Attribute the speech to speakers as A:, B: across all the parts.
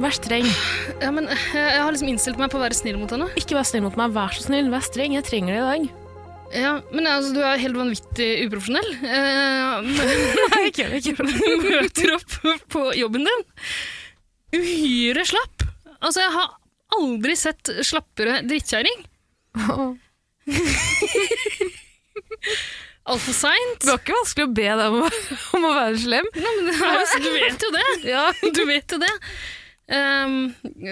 A: Vær streng.
B: Ja, men eh, jeg har liksom innstilt meg på å være snill mot henne.
A: Ikke vær snill mot meg, vær så snill. Vær streng, jeg trenger det i dag.
B: Ja, men altså, du er helt vanvittig uprofesjonell. Eh,
A: Nei, ikke gjør det, ikke gjør det.
B: men møter opp på jobben din. Uhyre slapp. Altså, jeg har aldri sett slappere drittkjerring. Altfor seint.
A: Det var ikke vanskelig å be deg om, å- om å være slem.
B: Altså, du vet jo det.
A: Ja.
B: Du vet jo det. Ehm,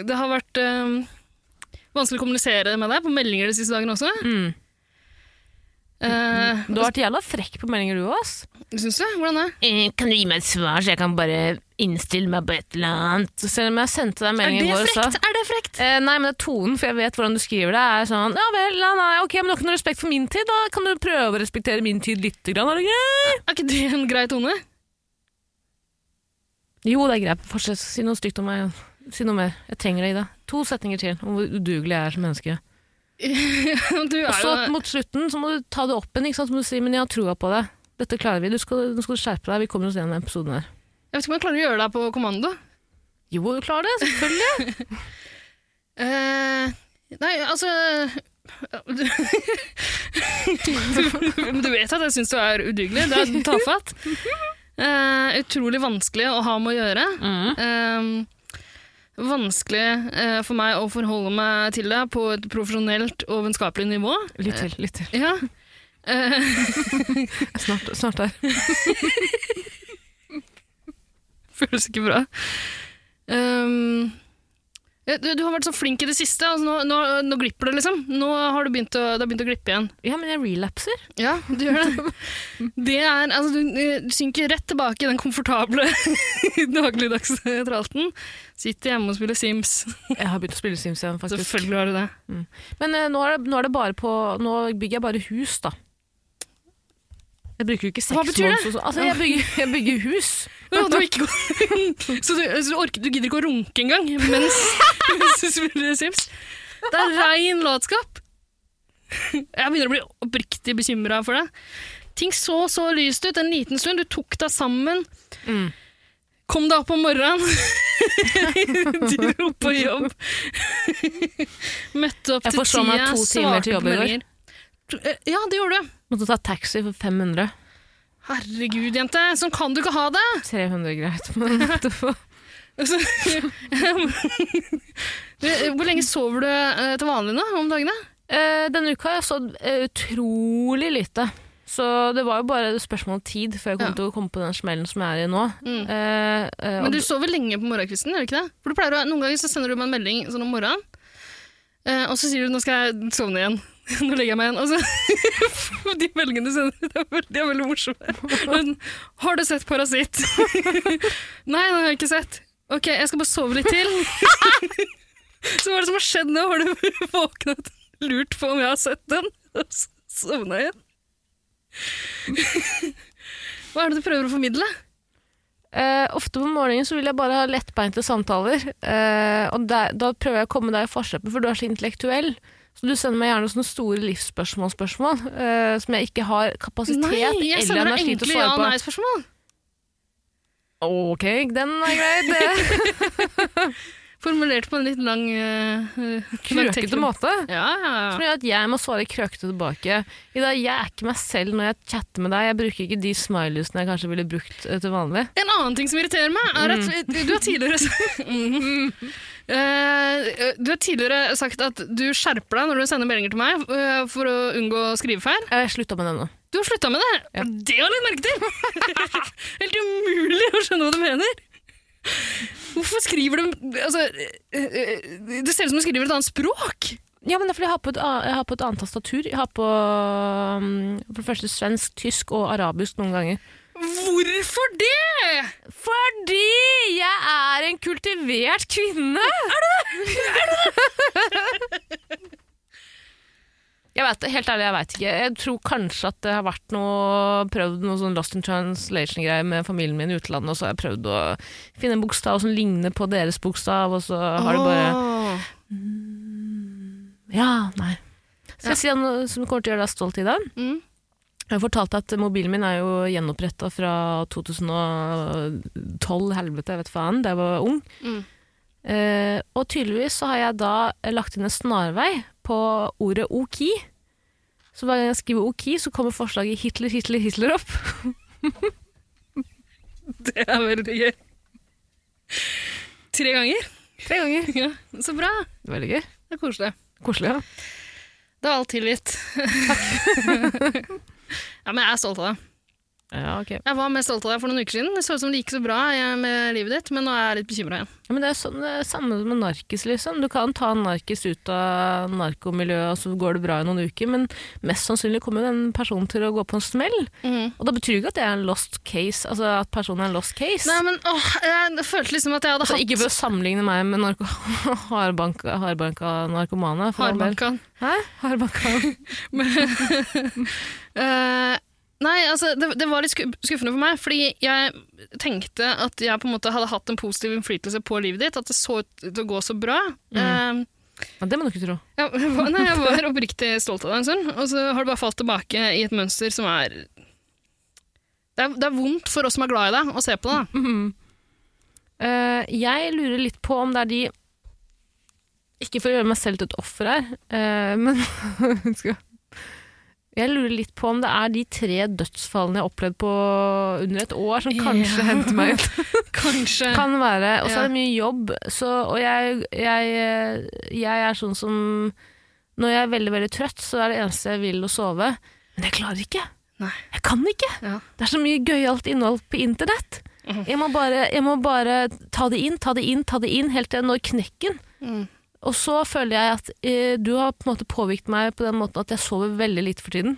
B: det har vært ehm, vanskelig å kommunisere med deg på meldinger de siste dagene også.
A: Mm.
B: Uh,
A: Du har vært jævla frekk på meldinger du òg, ass.
B: Syns du? Hvordan det?
A: Eh, Kan du gi meg et svar, så jeg kan bare innstille meg på et eller annet? Selv om jeg sendte deg en
B: Er
A: melding i
B: det
A: går, så
B: frekt? Er det frekt?
A: Eh, nei, men det er tonen, for jeg vet hvordan du skriver det. er sånn, ja vel, ja, nei, ok, men Du har ikke noe respekt for min tid, da kan du prøve å respektere min tid litt? Grann, er det greit?
B: Er ikke det en grei tone?
A: Jo, det er greit. Fortsett. Si noe stygt om meg. Si noe mer. Jeg trenger det, Ida. To setninger til om hvor udugelig jeg er som menneske.
B: Du
A: Og
B: er
A: så
B: jo
A: mot slutten så må du ta det opp igjen. ikke sant? Så må du si, men jeg har trua på deg. Dette klarer vi. Du skal, nå skal du skjerpe deg. Vi kommer oss gjennom denne episoden her.
B: Jeg vet ikke om jeg klarer å gjøre deg på kommando.
A: Jo, du klarer det. Selvfølgelig.
B: Eh, nei, altså du, du, du vet at jeg syns du er udugelig. Du er tafatt. Eh, utrolig vanskelig å ha med å gjøre.
A: Mm.
B: Ehm, vanskelig eh, for meg å forholde meg til deg på et profesjonelt og vennskapelig nivå.
A: Litt til. litt til.
B: Ja. Eh,
A: Snart, snart der.
B: føles ikke bra. Ehm, ja, du, du har vært så flink i det siste. Altså, nå, nå, nå glipper det, liksom. Nå har du begynt å, det har begynt å glippe igjen.
A: Ja, men jeg relapser.
B: Ja, du gjør det. det er, altså, du, eh, synker rett tilbake i den komfortable dagligdagse tralten. Sitter hjemme og spiller Sims.
A: Jeg har begynt å spille Sims igjen, faktisk.
B: Selvfølgelig har du det.
A: Men eh, nå, er det, nå er det bare på Nå bygger jeg bare hus, da. Jeg bruker jo ikke seks
B: Hva betyr det?
A: måneder og sånn. Altså, jeg bygger, jeg bygger hus.
B: Ja, du har ikke gått- så du, så du, orker, du gidder ikke å runke engang mens, mens du spiller Sims? Det er rein latskap. Jeg begynner å bli oppriktig bekymra for deg. Ting så så lyst ut en liten stund. Du tok deg sammen.
A: Mm.
B: Kom deg opp om morgenen. Du dro på jobb. Møtte
A: Jeg
B: opp til tida.
A: forsov meg to timer til
B: svarte
A: jobb i
B: på
A: går.
B: meldinger. eh, Ja, det gjorde du.
A: Måtte ta taxi for 500.
B: Herregud, jente. Sånn kan du ikke ha det.
A: 300 er greit, men det var-
B: Altså, Hvor lenge sover du eh, til vanlig nå om dagene?
A: Eh, Denne uka har jeg så eh, utrolig lite. Så det var jo bare et spørsmål om tid før jeg kom
B: Ja.
A: til å komme på den smellen som jeg er i nå.
B: Mm.
A: Eh, eh, og
B: Men du
A: d-
B: sover lenge på morgenkvisten, gjør du ikke det? For du pleier å, Noen ganger så sender du meg en melding sånn om morgenen, eh, og så sier du 'nå skal jeg sovne igjen'. Nå legger jeg meg igjen. Og så, de meldingene du sender, de er veldig, de er veldig morsomme. Men, har du sett Parasitt? Nei, det har jeg ikke sett. Ok, jeg skal bare sove litt til. så hva er det som har skjedd nå? Har du våknet lurt på om jeg har sett den? Og så sovna jeg igjen. Hva er det du prøver å formidle?
A: Eh, ofte på morgenen så vil jeg bare ha lettbeinte samtaler. eh, og der, da prøver jeg å komme deg i forkjøpet, for du er så intellektuell. Så du sender meg gjerne sånne store livsspørsmål-spørsmål eh, som jeg ikke har kapasitet
B: Nei, jeg
A: eller
B: sender deg
A: energi til å
B: enkle
A: svare på.
B: ja-nei-spørsmål.
A: Ok, den er grei. det.
B: Formulert på en litt lang eh, eh, lang teknikk.
A: Krøkete måte.
B: Ja, ja,
A: Som
B: ja.
A: gjør at jeg må svare krøkete tilbake. I dag, Jeg er ikke meg selv når jeg chatter med deg. Jeg bruker ikke de smileysene jeg kanskje ville brukt eh, til vanlig.
B: En annen ting som irriterer meg, er at
A: Mm.
B: du har tidligere Mhm. Eh, Du har tidligere sagt at du skjerper deg når du sender meldinger til meg eh, for å unngå skrivefeil.
A: Jeg slutta med det nå.
B: Du har slutta med det!
A: Ja.
B: Det har jeg lagt merke til! Helt umulig å skjønne hva du mener. Hvorfor skriver du altså, eh, eh, Det ser ut som du skriver et annet språk!
A: Ja, men det er fordi jeg har på et, a- jeg har på et annet tastatur. Jeg har på um, for det første svensk, tysk og arabisk noen ganger.
B: Hvorfor det?!
A: Fordi jeg er en kultivert kvinne! Er du det?! Jeg vet, helt ærlig, jeg vet ikke. Jeg tror kanskje at det har vært noe prøvd noe sånn lost in translation-greier med familien min i utlandet, og så har jeg prøvd å finne en bokstav som ligner på deres bokstav, og så har det bare
B: Åh.
A: Ja, nei. Skal jeg si noe som kommer til å gjøre deg stolt i dag?
B: Mm.
A: Jeg har fortalt at mobilen min er jo gjenoppretta fra 2012, helvete, jeg vet faen, da jeg var ung.
B: Mm.
A: Eh, og tydeligvis så har jeg da lagt inn en snarvei på ordet OK. Så hver gang jeg skriver OK, så kommer forslaget Hitler, Hitler, Hitler opp.
B: Det er veldig gøy. Tre ganger.
A: Tre ganger.
B: Ja, så bra.
A: Veldig gøy.
B: Det er koselig.
A: Koselig, ja.
B: Da er alt tilgitt. ja, men jeg er stolt av deg.
A: Ja, ok.
B: Jeg var mest stolt av deg for noen uker siden. Det så ut som det gikk så bra jeg, med livet ditt, men nå er jeg litt bekymra igjen.
A: Ja, men det er sånn, det er samme med narkis, liksom. Du kan ta en narkis ut av narkomiljøet, og så går det bra i noen uker, men mest sannsynlig kommer jo den personen til å gå på en smell.
B: Mm.
A: Og da betyr det ikke at det er en lost case, altså at personen er en lost case.
B: Nei, men åh, jeg følte liksom at jeg hadde
A: altså,
B: hatt
A: ikke for å sammenligne meg med narko hardbanka, hardbanka narkomane. for all del.
B: hardbankan.
A: Hæ? Hardbanka?
B: Eh, nei, altså, det, det var litt sku- skuffende for meg, fordi jeg tenkte at jeg på en måte hadde hatt en positiv innflytelse på livet ditt, at det så ut til å gå så bra. Eh,
A: Ja, det må du ikke tro.
B: jeg, var, nei, jeg var oppriktig stolt av deg en stund, og så har du bare falt tilbake i et mønster som er det, er det er vondt for oss som er glad i deg, å se på det. da.
A: Mhm. Eh, jeg lurer litt på om det er de Ikke for å gjøre meg selv til et offer her, eh, men skal- Jeg lurer litt på om det er de tre dødsfallene jeg har opplevd på under et år, som kanskje
B: Ja.
A: henter meg ut.
B: Kanskje.
A: Kan være. Og så
B: Ja.
A: er det mye jobb. Så, og jeg, jeg, jeg er sånn som Når jeg er veldig veldig trøtt, så er det eneste jeg vil å sove. Men jeg klarer ikke.
B: Nei.
A: Jeg kan ikke.
B: Ja.
A: Det er så mye gøyalt innhold på internett. Jeg, må bare, jeg må bare ta det inn, ta det inn, ta det inn, helt til jeg når knekken.
B: Mm.
A: Og så føler jeg at eh, du har på en måte påvirket meg på den måten at jeg sover veldig lite for tiden.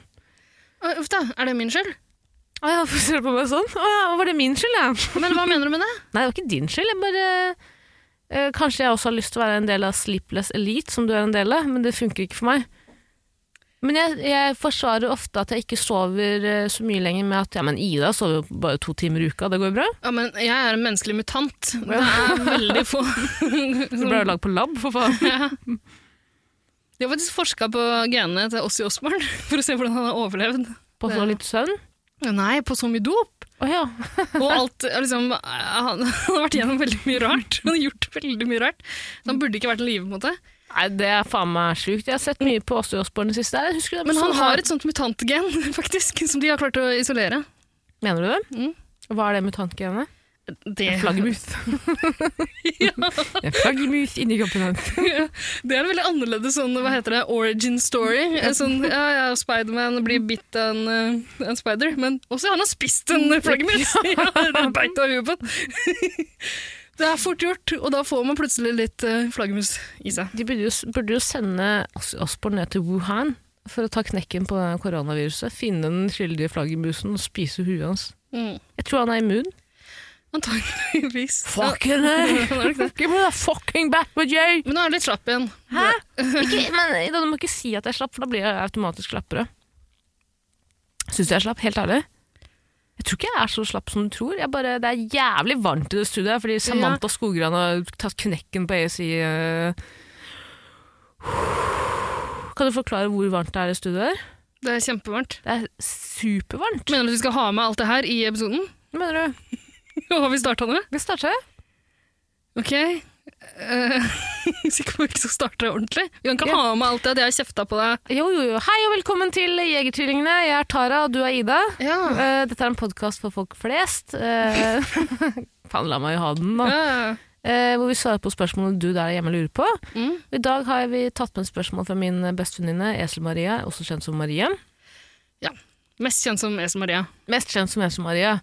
B: Å, Uff da, er det min skyld?
A: Å ja, hvorfor ser du på meg sånn? Å ja, var det min skyld, ja?
B: Men hva mener du med det?
A: Nei, det var ikke din skyld. Jeg bare eh, Kanskje jeg også har lyst til å være en del av Sleepless Elite, som du er en del av, men det funker ikke for meg. Men jeg, jeg forsvarer ofte at jeg ikke sover eh, så mye lenger med at ja, men Ida sover jo bare to timer i uka, det går bra.
B: Ja, men jeg er en menneskelig mutant. Det er veldig få
A: Du ble jo lagd på lab, for faen.
B: Ja. De har faktisk forska på genene til Ossi Osborn for å se hvordan han har overlevd.
A: På så litt søvn.
B: Nei, på så mye dop!
A: Å ja.
B: Og alt, ja, liksom, eh, han, han har vært gjennom veldig mye rart. Han har gjort veldig mye rart. Så han burde ikke vært i live. på en måte.
A: Nei, det er faen meg sjukt. Jeg har sett mye på Åse Jåsborg den siste. der. Jeg husker det
B: Men han
A: episoden
B: har
A: her.
B: et sånt mutantgen, faktisk, som de har klart å isolere.
A: Mener du det? Hva er det mutantgenet?
B: Det,
A: Mm. Flaggermus. En flaggermus inni kroppen hans.
B: det er en veldig annerledes sånn, hva heter det, origin story. Eh, Sånn, ja, ja, Spiderman blir bitt av en, eh, en spider, men også han har spist en flaggermus! Mm, Ja, det er beit av huet på den. Det er fort gjort, og da får man plutselig litt eh, flaggermus i seg.
A: De burde jo, burde jo sende Ozzy Osbourne ned til Wuhan for å ta knekken på det koronaviruset. Finne den skyldige flaggermusen og spise huet hans.
B: Mm.
A: Jeg tror han er immun.
B: Antakeligvis.
A: Fucking
B: Ja,
A: hell!
B: han er nok det.
A: Give me the fucking back with you!
B: Men nå er det litt slapp igjen.
A: Hæ? Ikke, men Ida, du må ikke si at jeg er slapp, for da blir jeg automatisk slappere. Syns du jeg er slapp? Helt ærlig? Jeg tror ikke jeg er så slapp som du tror. Jeg bare, det er jævlig varmt i det studioet her, fordi Samantha Skogran har tatt knekken på ASI. eh. Kan du forklare hvor varmt det er i studioet her?
B: Det er kjempevarmt.
A: Det er supervarmt.
B: Mener du at vi skal ha med alt det her i episoden?
A: Hva mener du?
B: Hva har vi starta med?
A: Vi starter her.
B: Ok. Uh, Sikker på at vi ikke skal starte ordentlig? Vi kan ikke
A: Ja.
B: ha med alt det at jeg har kjefta på deg.
A: Jo, jo, jo. Hei og velkommen til Jegertvillingene. Jeg er Tara, og du er Ida.
B: Ja.
A: Eh, dette er en podkast for folk flest. Eh, Faen, la meg jo ha den, da. Eh, hvor vi svarer på spørsmålene du der hjemme lurer på.
B: Mm.
A: I dag har vi tatt med spørsmål fra min bestevenninne Esel-Maria, også kjent som Marie.
B: Mest kjent som Esel Maria.
A: Mest kjent som Esel-Maria.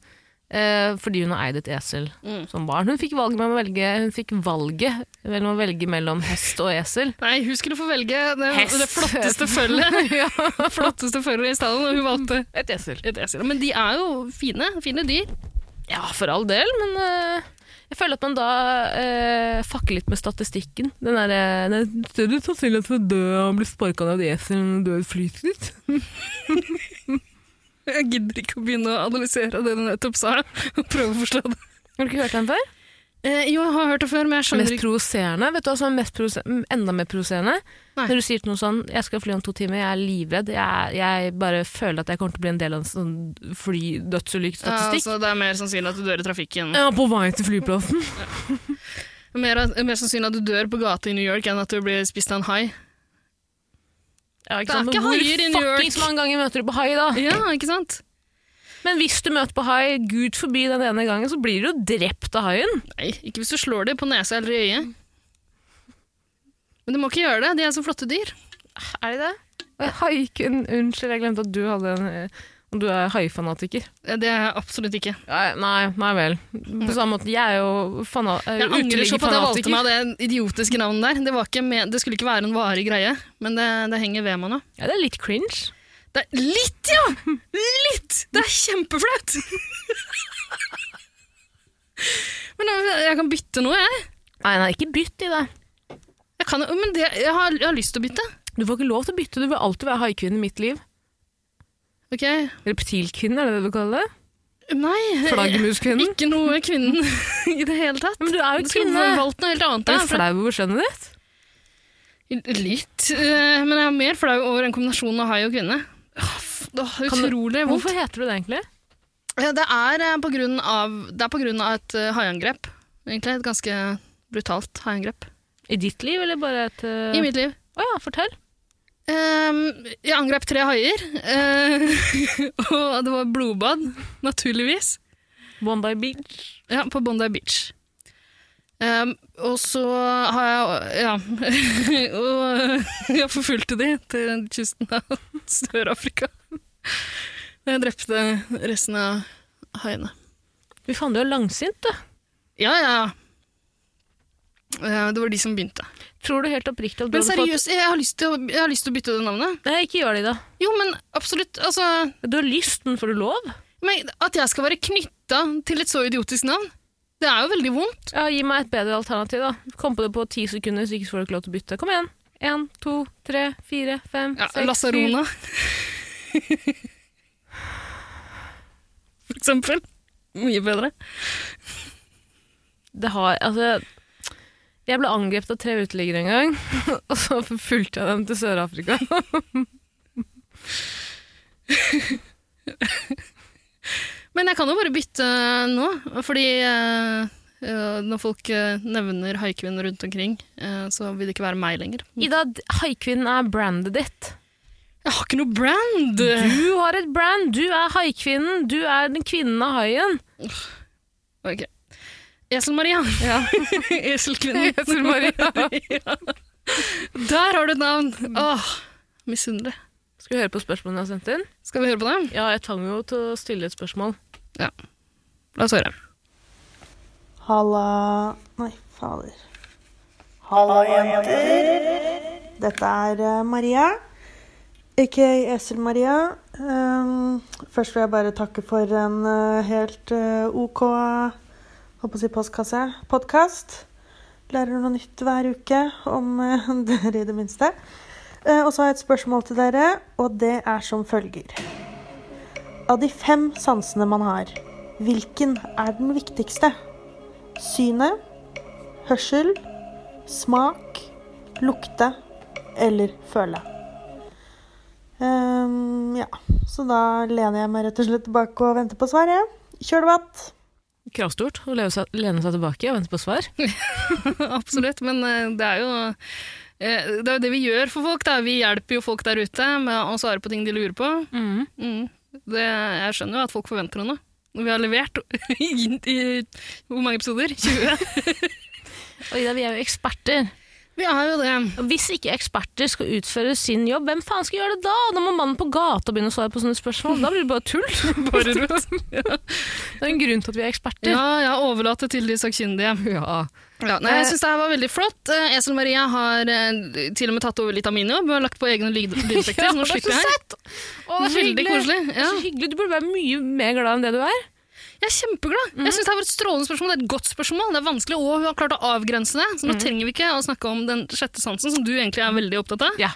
A: eh, fordi hun har eid et esel
B: Mm.
A: som barn. Hun fikk valget mellom å velge, hun fikk valget mellom, å velge mellom hest og esel.
B: Nei, hun skulle få velge det,
A: Hest.
B: det flotteste følget
A: ja,
B: flotteste følget i stallen, og hun valgte
A: et esel.
B: et esel. Men de er jo fine. Fine dyr.
A: Ja, for all del, men eh, Jeg føler at man da eh, fakker litt med statistikken. Den derre Det er større sannsynlighet for å dø og bli sparka ned av et esel enn å dø i et flykrytt.
B: Jeg gidder ikke å begynne å analysere det du nettopp sa, og prøve å forstå det.
A: Har du ikke hørt den før?
B: Eh, jo, jeg har hørt det før, men jeg skjønner
A: Mest provoserende. Vet du hva som er mest provose- m, enda mer provoserende?
B: Nei.
A: Når du sier til noen sånn 'jeg skal fly om to timer', jeg er livredd, jeg, er- jeg bare føler at jeg kommer til å bli en del av en sånn
B: Ja,
A: flydødsulykkestatistikk.
B: altså, det er mer sannsynlig at du dør i trafikken.
A: jeg er på vei til flyplassen.
B: Mer, mer sannsynlig at du dør på gata i New York enn at du blir spist av en hai.
A: Ja, ikke
B: Det er
A: sant? Men
B: ikke
A: hvor
B: haier i New York.
A: fuckings mange ganger møter du på hai, da?
B: Ja, ikke sant?
A: Men hvis du møter på hai, gud forby den ene gangen, så blir du jo drept av haien.
B: Nei, ikke hvis du slår dem på nesa eller i øyet. Men du må ikke gjøre det, de er så flotte dyr.
A: Er de det? Haikun, unnskyld, jeg glemte at du hadde en eh, om du er haifanatiker.
B: Eh, Det er jeg absolutt ikke.
A: Nei, nei, nei vel. På samme måte, jeg er jo fana eh,
B: Jeg angrer så på at jeg valgte
A: uteliggerfanatiker.
B: meg det idiotiske navnet der. Det, var ikke med, det skulle ikke være en varig greie, men det, det henger ved meg nå.
A: Ja, det er litt cringe.
B: Det er litt, ja! Litt! Det er kjempeflaut! men jeg, jeg kan bytte noe, jeg.
A: Nei, nei, ikke bytt i det.
B: jeg kan, jo- men det, jeg, har, jeg har lyst til å bytte.
A: Du får ikke lov til å bytte, du vil alltid være haikvinne i mitt liv.
B: Ok.
A: Reptilkvinne, er det det du kaller det?
B: Nei,
A: Flaggermuskvinne.
B: ikke noe kvinnen i det hele tatt.
A: Men du er jo
B: Du skulle
A: kvinne.
B: valgt noe helt annet.
A: Er
B: jeg,
A: du
B: for-
A: flau over skjønnet ditt?
B: Litt. eh, Men jeg er mer flau over en kombinasjon av hai og kvinne. Åh, f- åh,
A: Kan du-
B: Utrolig vondt.
A: Hvorfor heter du det egentlig?
B: Eh, Det er eh, på grunn av, det er på grunn av et eh, haiangrep. Egentlig et ganske brutalt haiangrep.
A: I ditt liv, eller bare et eh,
B: I mitt liv.
A: Å ja, fortell.
B: Ehm, jeg angrep tre haier, eh, og det var blodbad, naturligvis,
A: One by beach.
B: ja, på Bondi Beach. Ehm, og så har jeg Ja. og jeg forfulgte de til kysten av Sør-Afrika. Jeg drepte resten av haiene.
A: Fy faen, du er langsint, du.
B: Ja, ja, ja. Eh, Det var de som begynte.
A: Tror du helt oppriktig at du
B: Men
A: hadde fått
B: seriøst, jeg har lyst til å, jeg har lyst til å bytte det navnet.
A: Nei, ikke gjør det, da.
B: Jo, men absolutt. Altså,
A: Du har lyst, men får du lov?
B: men at jeg skal være knytta til et så idiotisk navn, det er jo veldig vondt.
A: Ja, Gi meg et bedre alternativ, da. Kom på det på ti sekunder, så ikke får du ikke lov til å bytte. Kom igjen. Én, to, tre, fire, fem,
B: Ja,
A: seks, syv
B: Lazzarona. For eksempel. Mye bedre.
A: Det har Altså, jeg ble angrepet av tre uteliggere en gang, og så forfulgte jeg dem til Sør-Afrika.
B: Men jeg kan jo bare bytte nå, fordi eh, eh, når folk eh, nevner haikvinner rundt omkring, eh, så vil det ikke være meg lenger.
A: Ida, d- haikvinnen er brandet ditt.
B: Jeg har ikke noe brand!
A: Du har et brand! Du er haikvinnen! Du er den kvinnen av haien!
B: Ok. Esel-Maria. Eselkvinnen. Ja. Der har du et navn! Åh, misunnelig.
A: Skal vi høre på spørsmålene jeg har sendt inn?
B: Skal vi høre på det?
A: Ja, jeg tvang jo til å stille et spørsmål.
B: La oss høre.
C: Halla Nei, fader. Halla, jenter. Dette er eh, Maria, aka Esel-Maria. Um, først vil jeg bare takke for en eh, helt eh, OK håper å si postkasse podkast. Lærer noe nytt hver uke, om eh, dere i det minste. Eh, og så har jeg et spørsmål til dere, og det er som følger. Av de fem sansene man har, hvilken er den viktigste? synet, hørsel, smak, lukte eller føle. Ehm, ja, så da lener jeg meg rett og slett tilbake og venter på svaret. Kjør debatt!
A: Kravstort å leve seg- lene seg tilbake og vente på svar.
B: Absolutt, men eh, det er jo eh, det er jo det vi gjør for folk. Da. Vi hjelper jo folk der ute med å svare på ting de lurer på. Mm. Det, jeg skjønner jo at folk forventer noe. Når vi har levert i, i hvor mange episoder? 20?
A: Og Ida, vi er jo eksperter.
B: Vi er jo det.
A: Og Hvis ikke eksperter skal utføre sin jobb, hvem faen skal gjøre det da? Da må mannen på gata begynne å svare på sånne spørsmål. Da blir det bare tull.
B: Bare rot.
A: Det er en grunn til at vi er eksperter.
B: Ja, ja, overlate til de sakkyndige.
A: Ja. Eh.
B: Ja, nei, jeg syns det her var veldig flott. Eh, Esel Maria har eh, til og med tatt over litt av min jobb. Hun har lagt på egne lyd lydeffekter, så nå
A: det er
B: slipper
A: så
B: jeg.
A: sett! Å, det er så
B: Veldig
A: hyggelig.
B: koselig. Ja.
A: Så hyggelig. Du burde være mye mer glad enn det du er.
B: Jeg er kjempeglad.
A: Mhm.
B: Jeg synes Det her var et strålende spørsmål. Det er et godt spørsmål. Det er vanskelig, og hun har klart å avgrense det. Så nå
A: Mhm.
B: trenger vi ikke å snakke om den sjette sansen, som du egentlig er veldig opptatt av.
A: Ja.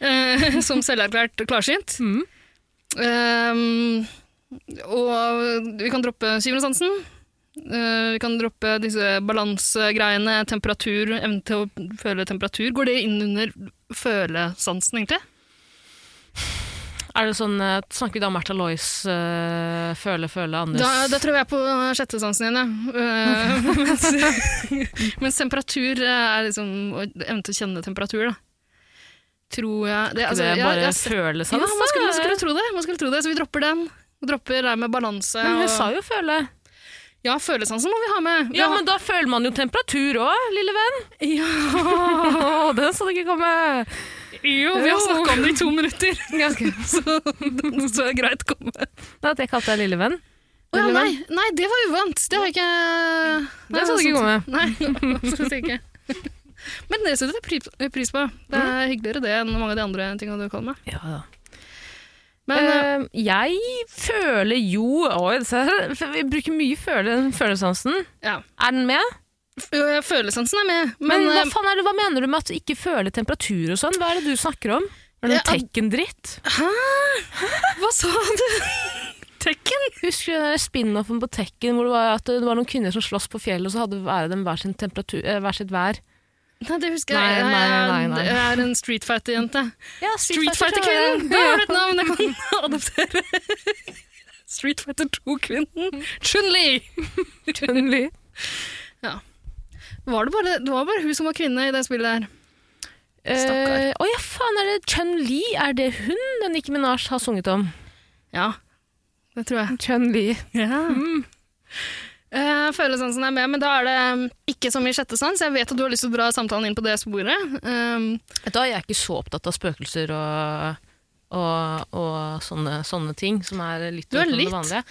B: Eh, som selverklært klarsynt.
A: Mm.
B: Ehm, og vi kan droppe syvende sansen. Eh, vi kan droppe disse balansegreiene, temperatur, evne til å føle temperatur. Går det inn under følesansen, egentlig?
A: Er det sånn, eh, Snakker vi da om Märtha Lois' eh, føle, føle andres
B: Da, da tror jeg vi er på sjette sansen igjen, ja. Eh, mens, mens temperatur er liksom og evne til å kjenne temperatur, da. Tror jeg det, altså,
A: det
B: jeg-
A: bare
B: jeg har sett-
A: føle
B: Ja,
A: seg, da?
B: man skulle, man skulle tro det, man skulle tro det, så vi dropper den. Vi dropper det med balanse.
A: Men hun
B: og-
A: sa jo føle.
B: Ja, følesansen må vi ha med. Vi
A: Ja,
B: har-
A: men da føler man jo temperatur òg, lille venn.
B: ja.
A: Åh, den skal du ikke komme.
B: Jo, vi har snakka om det i to minutter, så det så er det greit å komme.
A: Det at jeg kalte deg lille venn.
B: Å ja,
A: Lille
B: nei, nei, det var uvant. Det har jeg ikke Nei,
A: skal du ikke
B: sant. Nei, absolutt ikke. Men det setter vi pri- pris på. Det
A: Mm.
B: er hyggeligere det enn mange av de andre tingene du kaller meg.
A: Ja, da.
B: Men eh,
A: Eh, jeg føler jo Oi, se her. Vi bruker mye føle, følesansen.
B: ja.
A: Er den med?
B: F- øh, Følesansen er med.
A: Men,
B: Men,
A: hva,
B: eh,
A: faen er det, hva mener du med at du ikke føler temperatur og sånn? Hva er det du snakker om? Er det noe
B: Ja, at-
A: tekkendritt?
B: hva sa du? Tekken?
A: Husker du den der spin-offen på Tekken hvor det var, at det var noen kvinner som sloss på fjellet, og så hadde hver av dem hver, sin temperatur, eh, hver sitt vær?
B: Nei, det husker
A: Nei,
B: jeg.
A: nei, nei,
B: Jeg
A: nei.
B: er- Jeg er en Street Fighter-jente.
A: Ja,
B: Street Fighter-kvinnen! Da har du et navn jeg kan adoptere. Street Fighter 2-kvinnen. Chun-Li!
A: Skjønnelig.
B: Var det, bare, det var bare hun som var kvinne i det spillet der. Stakkar.
A: Eh, Å ja, faen, er det Chun-Li? Er det hun den Nicki Minaj har sunget om?
B: Ja, det tror jeg.
A: Chun-Li.
B: Ja. Eh, følesansen er med, men da er det mm, ikke som i sjette sans. Jeg vet at du har lyst til å dra samtalen inn på det sporet. Um,
A: Da er jeg ikke så opptatt av spøkelser og, og, og sånne, sånne ting, som er litt
B: Du er
A: utenom
B: litt.
A: det vanlige.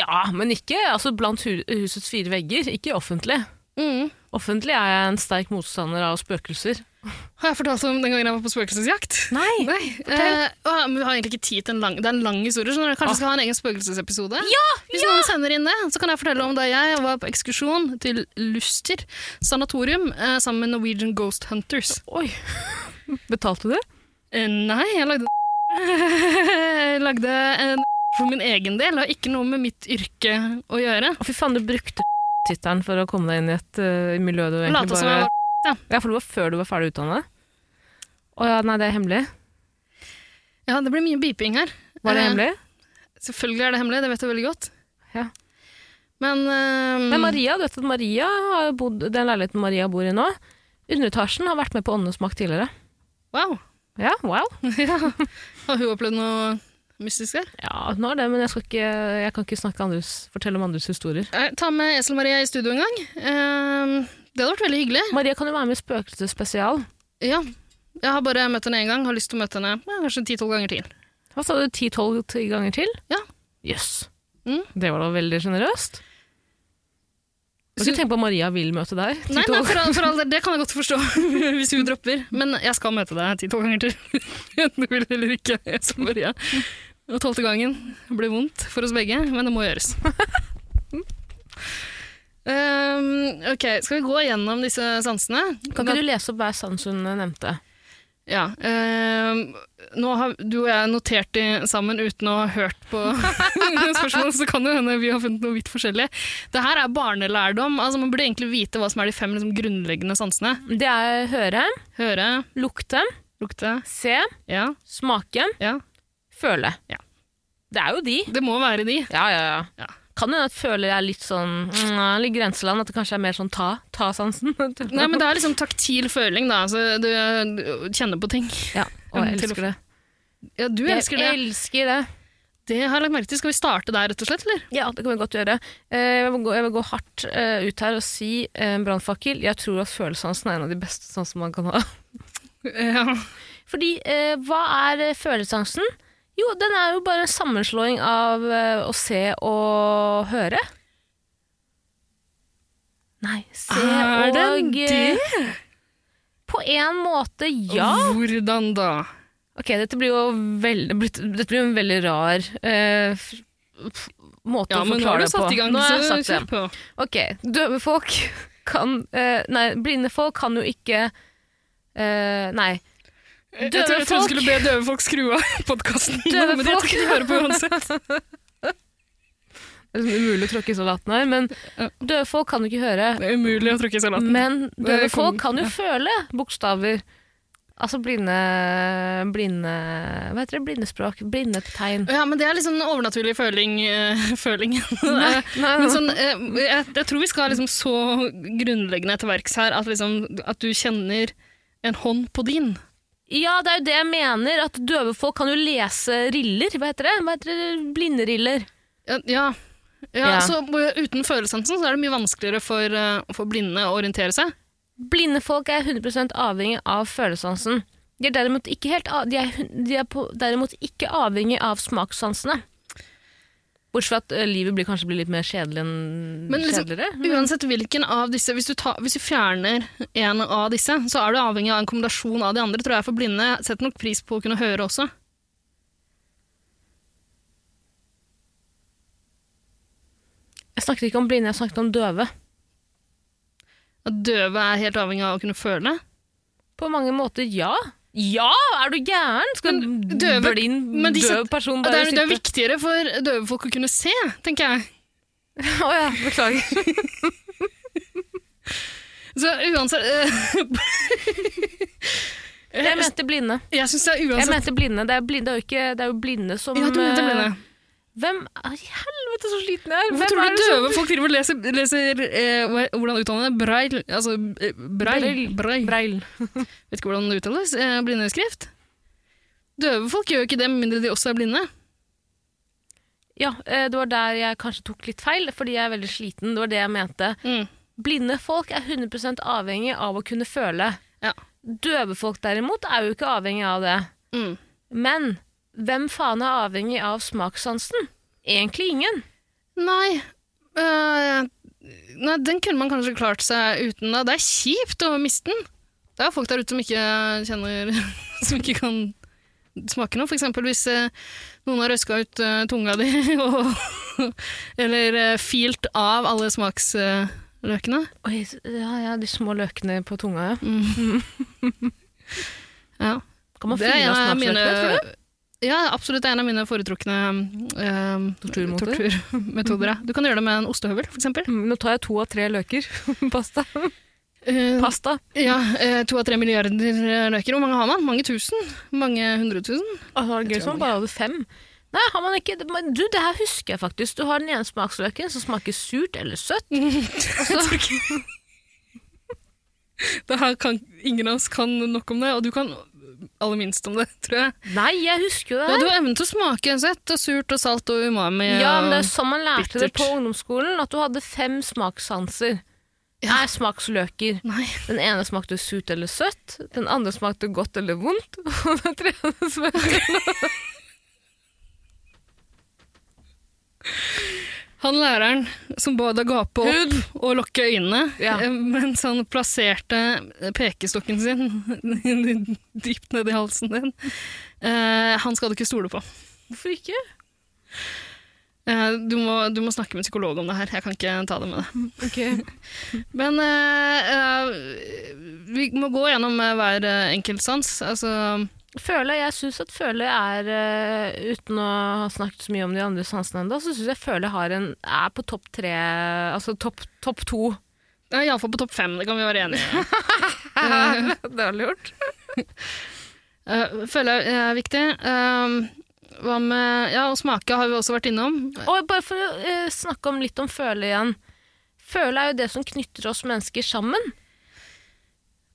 A: Ja, men ikke altså, blant hu husets fire vegger. Ikke offentlig.
B: mm.
A: Offentlig er jeg en sterk motstander av spøkelser.
B: Har jeg fortalt om den gangen jeg var på spøkelsesjakt?
A: Nei!
B: Nei. eh, å, men vi har egentlig ikke tid til en lang, det er en lang historie, så kanskje vi skal ha en egen spøkelsesepisode? Hvis noen sender inn det, så kan jeg fortelle om da jeg var på ekskursjon til Luster sanatorium eh, sammen med Norwegian Ghost Hunters.
A: Oi. Betalte du?
B: Eh, nei, jeg lagde Jeg lagde en for min egen del, og ikke noe med mitt yrke å gjøre.
A: Å, fy faen, du brukte tittelen for å komme deg inn i et eh, miljø du
B: Og
A: egentlig
B: late som
A: bare
B: jeg var
A: Ja, for det var før du var ferdig utdannet? Å ja, nei, det er hemmelig.
B: Ja, det blir mye beeping her.
A: Var det
B: Eh,
A: hemmelig?
B: Selvfølgelig er det hemmelig, det vet jeg veldig godt.
A: Ja.
B: Men ehm,
A: Men Maria, du vet at Maria har bodd, den leiligheten Maria bor i nå, underetasjen har vært med på Åndenes makt tidligere.
B: Wow.
A: Ja, wow.
B: ja. Har hun opplevd noe mystisk her?
A: Ja, nå er det, men jeg, skal ikke, jeg kan ikke snakke andres, fortelle om andres historier.
B: Eh, Ta med Esel Maria i studio en gang. Ehm, det hadde vært veldig hyggelig.
A: Maria kan jo være med i Spøkelsesspesial.
B: Ja. Jeg har bare møtt henne én gang, har lyst til å møte henne ja, kanskje ti-tolv ganger til.
A: Hva sa du, 10-12 ganger til?
B: Ja.
A: Jøss.
B: Mm.
A: Det var da veldig generøst. Du
B: Så-
A: skal tenke på at Maria vil møte deg.
B: Nei, nei
A: 10-12.
B: for, all- for all del, det kan jeg godt forstå hvis hun dropper. Men jeg skal møte deg ti-tolv ganger til. Enten du vil eller ikke. Esel Maria. Og tolvte gangen ble vondt for oss begge, men det må gjøres. Um, ok, skal vi gå gjennom disse sansene?
A: Kan ikke du lese opp hver sans hun nevnte?
B: Ja. ehm, nå har du og jeg notert de sammen uten å ha hørt på spørsmålene, så kan det hende vi har funnet noe vidt forskjellig. Det her er barnelærdom. Altså, man burde egentlig vite hva som er de fem liksom, grunnleggende sansene.
A: Det er høre,
B: Høre,
A: lukte,
B: lukte,
A: se,
B: ja,
A: smake,
B: ja.
A: føle.
B: Ja.
A: Det er jo de.
B: Det må være de.
A: Ja, ja, ja.
B: Ja.
A: Kan hende at føler jeg er litt sånn mm, litt grenseland, at det kanskje er mer sånn ta, ta-sansen.
B: Nei, men det er liksom taktil føling, da. Altså, du, du kjenner på ting.
A: ja, og jeg
B: Til å-
A: elsker det.
B: Ja, du elsker det.
A: Jeg elsker det.
B: Det har jeg lagt merke til. Skal vi starte der, rett og slett, eller?
A: Ja, det kan vi godt gjøre. Eh, Jeg vil gå, jeg vil gå hardt eh, ut her og si eh, brannfakkel. Jeg tror at følelsessansen er en av de beste sansene man kan ha.
B: Ja.
A: Fordi eh, hva er eh, følelsessansen? Jo, den er jo bare en sammenslåing av eh, å se og høre. Nei, se
B: Er den
A: og eh, På en måte, ja.
B: Hvordan da?
A: Ok, dette blir jo veld, dette blir jo en veldig rar eh, f- f- måte
B: Ja,
A: å
B: men nå
A: forklare
B: har du
A: det på.
B: satt i gang,
A: Nå har jeg
B: så
A: satt det.
B: kjør på.
A: Ok, døve folk kan eh, Nei, blinde folk kan jo ikke eh, Nei.
B: Jeg,
A: Døve
B: jeg trodde jeg trodde du
A: folk.
B: skulle be døve folk skru av podkasten.
A: Døve
B: Men jeg tror ikke de hører på uansett.
A: Det er liksom umulig å tråkke i salaten her, men
B: Ja.
A: døve folk kan jo ikke høre.
B: Det er umulig å tråkke i salaten.
A: Men døve
B: Det
A: folk
B: kom-
A: kan jo føle bokstaver. Altså blinde Blinde Hva heter det? Blindespråk? Blindetegn.
B: Ja, men det er liksom en overnaturlig føling, eh, følingen.
A: Nei, nei,
B: Men
A: nei.
B: sånn, eh, jeg, jeg tror vi skal liksom så grunnleggende til verks her at, liksom, at du kjenner en hånd på din.
A: Ja, det er jo det jeg mener. At døve folk kan jo lese riller. Hva heter det? Hva heter det? Blinderiller.
B: Ja, ja. ja,
A: Ja.
B: Så eh, uten følelsesansen så er det mye vanskeligere for, eh, for blinde å orientere seg.
A: Blinde folk er 100 avhengig av følelsessansen. De er derimot ikke, helt av, de er, hun- de er på, derimot ikke avhengig av smakssansene. Bortsett fra at ø, livet blir, kanskje blir litt mer kjedelig enn
B: Men liksom,
A: kjedeligere.
B: Uansett hvilken av disse, hvis du, ta, hvis du fjerner en av disse, så er du avhengig av en kombinasjon av de andre, tror jeg, for blinde setter nok pris på å kunne høre også.
A: Jeg snakket ikke om blinde, jeg snakket om døve.
B: At døve er helt avhengig av å kunne føle.
A: På mange måter, ja. Ja, er du gæren? Skal en
B: Men døve-
A: blind,
B: men de
A: døv
B: set-
A: person
B: Det
A: bare
B: er, det er viktigere for døve folk å kunne se, tenker jeg.
A: sitte Å ja, beklager.
B: Så uansett eh,
A: Jeg mente blinde.
B: Jeg syns det er
A: Jeg
B: uansett
A: mente blinde. Det er, blinde, det er, jo, ikke, det er jo blinde som
B: Altså, Ja, du mente
A: ø,
B: blinde.
A: Hvem Å, I helvete, så sliten jeg er!
B: Hvorfor
A: Hvem
B: tror
A: er
B: du
A: det som-
B: døve folk driver og leser, leser eh, hva- Hvordan uttaler man det? Braille? Altså eh, braille.
A: Braille.
B: braille.
A: Breil.
B: Vet ikke hvordan det uttales. Eh, blindeskrift. Døve folk gjør jo ikke det, med mindre de også er blinde.
A: Ja, eh, det var der jeg kanskje tok litt feil, fordi jeg er veldig sliten. Det var det jeg mente.
B: Mm.
A: Blinde folk er 100 avhengig av å kunne føle.
B: Ja.
A: Døve folk derimot er jo ikke avhengig av det.
B: Mm.
A: Men hvem faen er avhengig av smakssansen? Egentlig ingen.
B: Nei. eh, nei, den kunne man kanskje klart seg uten. Da. Det er kjipt å miste den. Det er folk der ute som ikke kjenner Som ikke kan smake noe. For eksempel hvis eh, noen har røska ut eh, tunga di, og, eller eh, filt av alle smaksløkene.
A: Oi, s- ja, ja, de små løkene på tunga, ja.
B: ja.
A: Kan man
B: Det er
A: fylle av
B: en av
A: smaksløkene, tror du?
B: mine ja, absolutt det er en av mine foretrukne eh,
A: Torturmåter?
B: torturmetoder. ja. Du kan gjøre det med en ostehøvel, for eksempel.
A: Mm, Nå tar jeg to av tre løker. Pasta.
B: Eh,
A: Pasta.
B: Ja, eh, to av tre milliarder eh, løker. Hvor mange har man? Mange tusen? Mange hundre tusen?
A: Altså, det var gøy
B: tror
A: som man bare hadde fem. Nei, har man ikke det- men Du, det her husker jeg faktisk. Du har den ene smaksløken som smaker surt eller søtt.
B: Det her kan, ingen av oss kan nok om det, og du kan aller minst om det, tror jeg.
A: Nei, jeg husker jo det
B: Ja,
A: her.
B: du har evnen til å smake søtt og surt og salt og umami.
A: Ja, men det er
B: og-
A: sånn man lærte det
B: bittert.
A: på ungdomsskolen, at du hadde fem smakssanser. Nei, smaksløker.
B: Nei.
A: Den ene smakte surt eller søtt, den andre smakte godt eller vondt, og den tredje smakte
B: Han læreren som både gape opp
A: Hud.
B: og lokke øynene,
A: Ja.
B: eh, mens han plasserte pekestokken sin dypt ned i halsen din, eh, han skal du ikke stole på.
A: Hvorfor ikke?
B: Eh, Du må, du må snakke med psykolog om det her, jeg kan ikke ta det med deg.
A: Ok.
B: Men eh, eh, vi må gå gjennom eh, hver eh, enkelt sans. Altså,
A: Føle, jeg syns at føle er eh, Uten å ha snakket så mye om de andre sansene ennå, så syns jeg føle har en, er på topp tre Altså topp topp to.
B: det er iallfall på topp fem, det kan vi være enige om.
A: det har du gjort.
B: Eh, Føle er er viktig. Eh, Hva med Ja, og smake har vi også vært innom.
A: Og bare for å eh, snakke om litt om føle igjen. Føle er jo det som knytter oss mennesker sammen.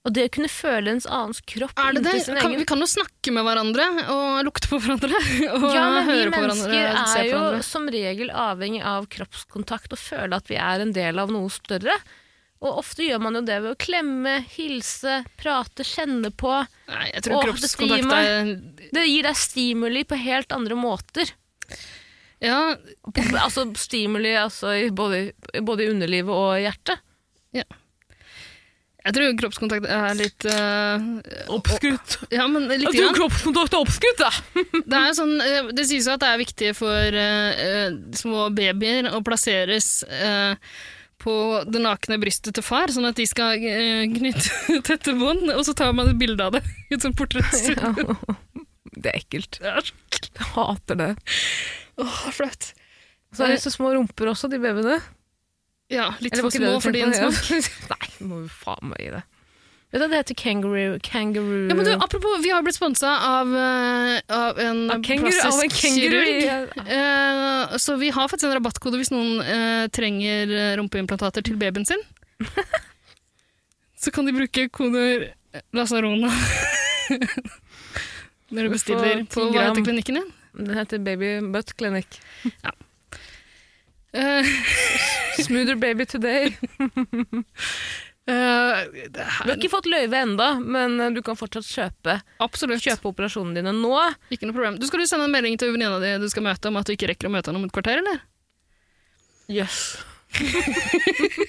A: Og det å kunne føle ens annens kropp
B: Er det det?
A: inntil sin
B: Kan,
A: egen
B: vi kan jo snakke med hverandre og lukte på hverandre. Og
A: Ja, men vi
B: høre på
A: mennesker
B: hverandre og se
A: er
B: på
A: jo
B: hverandre.
A: som regel avhengig av kroppskontakt og føle at vi er en del av noe større. Og ofte gjør man jo det ved å klemme, hilse, prate, kjenne på.
B: Nei, jeg tror
A: Åh, dette gir
B: kroppskontakt er
A: Det gir deg stimuli på helt andre måter.
B: ja,
A: På- Altså stimuli altså, i både, både i underlivet og i hjertet.
B: Jeg tror kroppskontakt er litt eh,
A: Oppskrytt.
B: Ja, men litt
A: Jeg tror
B: grann.
A: kroppskontakt er oppskrytt, jeg.
B: Det, er jo sånn, eh, det sies jo at det er viktig for eh, eh, små babyer å plasseres eh, på det nakne brystet til far, sånn at de skal eh, knytte tette bånd, og så tar man et bilde av det i et sånt portrett.
A: Det er ekkelt.
B: Det er så
A: Jeg hater det.
B: Åh, flaut.
A: Så er det så små rumper også, de babyene.
B: Ja, litt
A: Eller var
B: for
A: ikke det
B: små
A: du
B: for din
A: tenkte på?
B: smak.
A: Nei, må jo faen meg gi det. Vet du, det heter kangaroo kangaroo
B: Ja, men du, apropos, vi har blitt sponsa av, eh, av en
A: Av kenguru,
B: plastisk
A: av en kenguru i-
B: kirurg. Eh, så vi har faktisk en rabattkode hvis noen eh, trenger eh, rumpeimplantater til babyen sin. så kan de bruke koder eh, Lasarona når du
A: Du får
B: bestiller
A: 10
B: på hva
A: gram.
B: heter klinikken din?
A: Den heter Baby Butt Clinic.
B: Eh,
A: Smoother baby today.
B: eh, det
A: Du har
B: her,
A: ikke fått løyve enda, men eh, du kan fortsatt kjøpe,
B: absolutt.
A: kjøpe operasjonene dine nå.
B: Ikke noe problem. Du skal jo sende en melding til venninna di du skal møte om at du ikke rekker å møte henne om et kvarter, eller?
A: Jøss.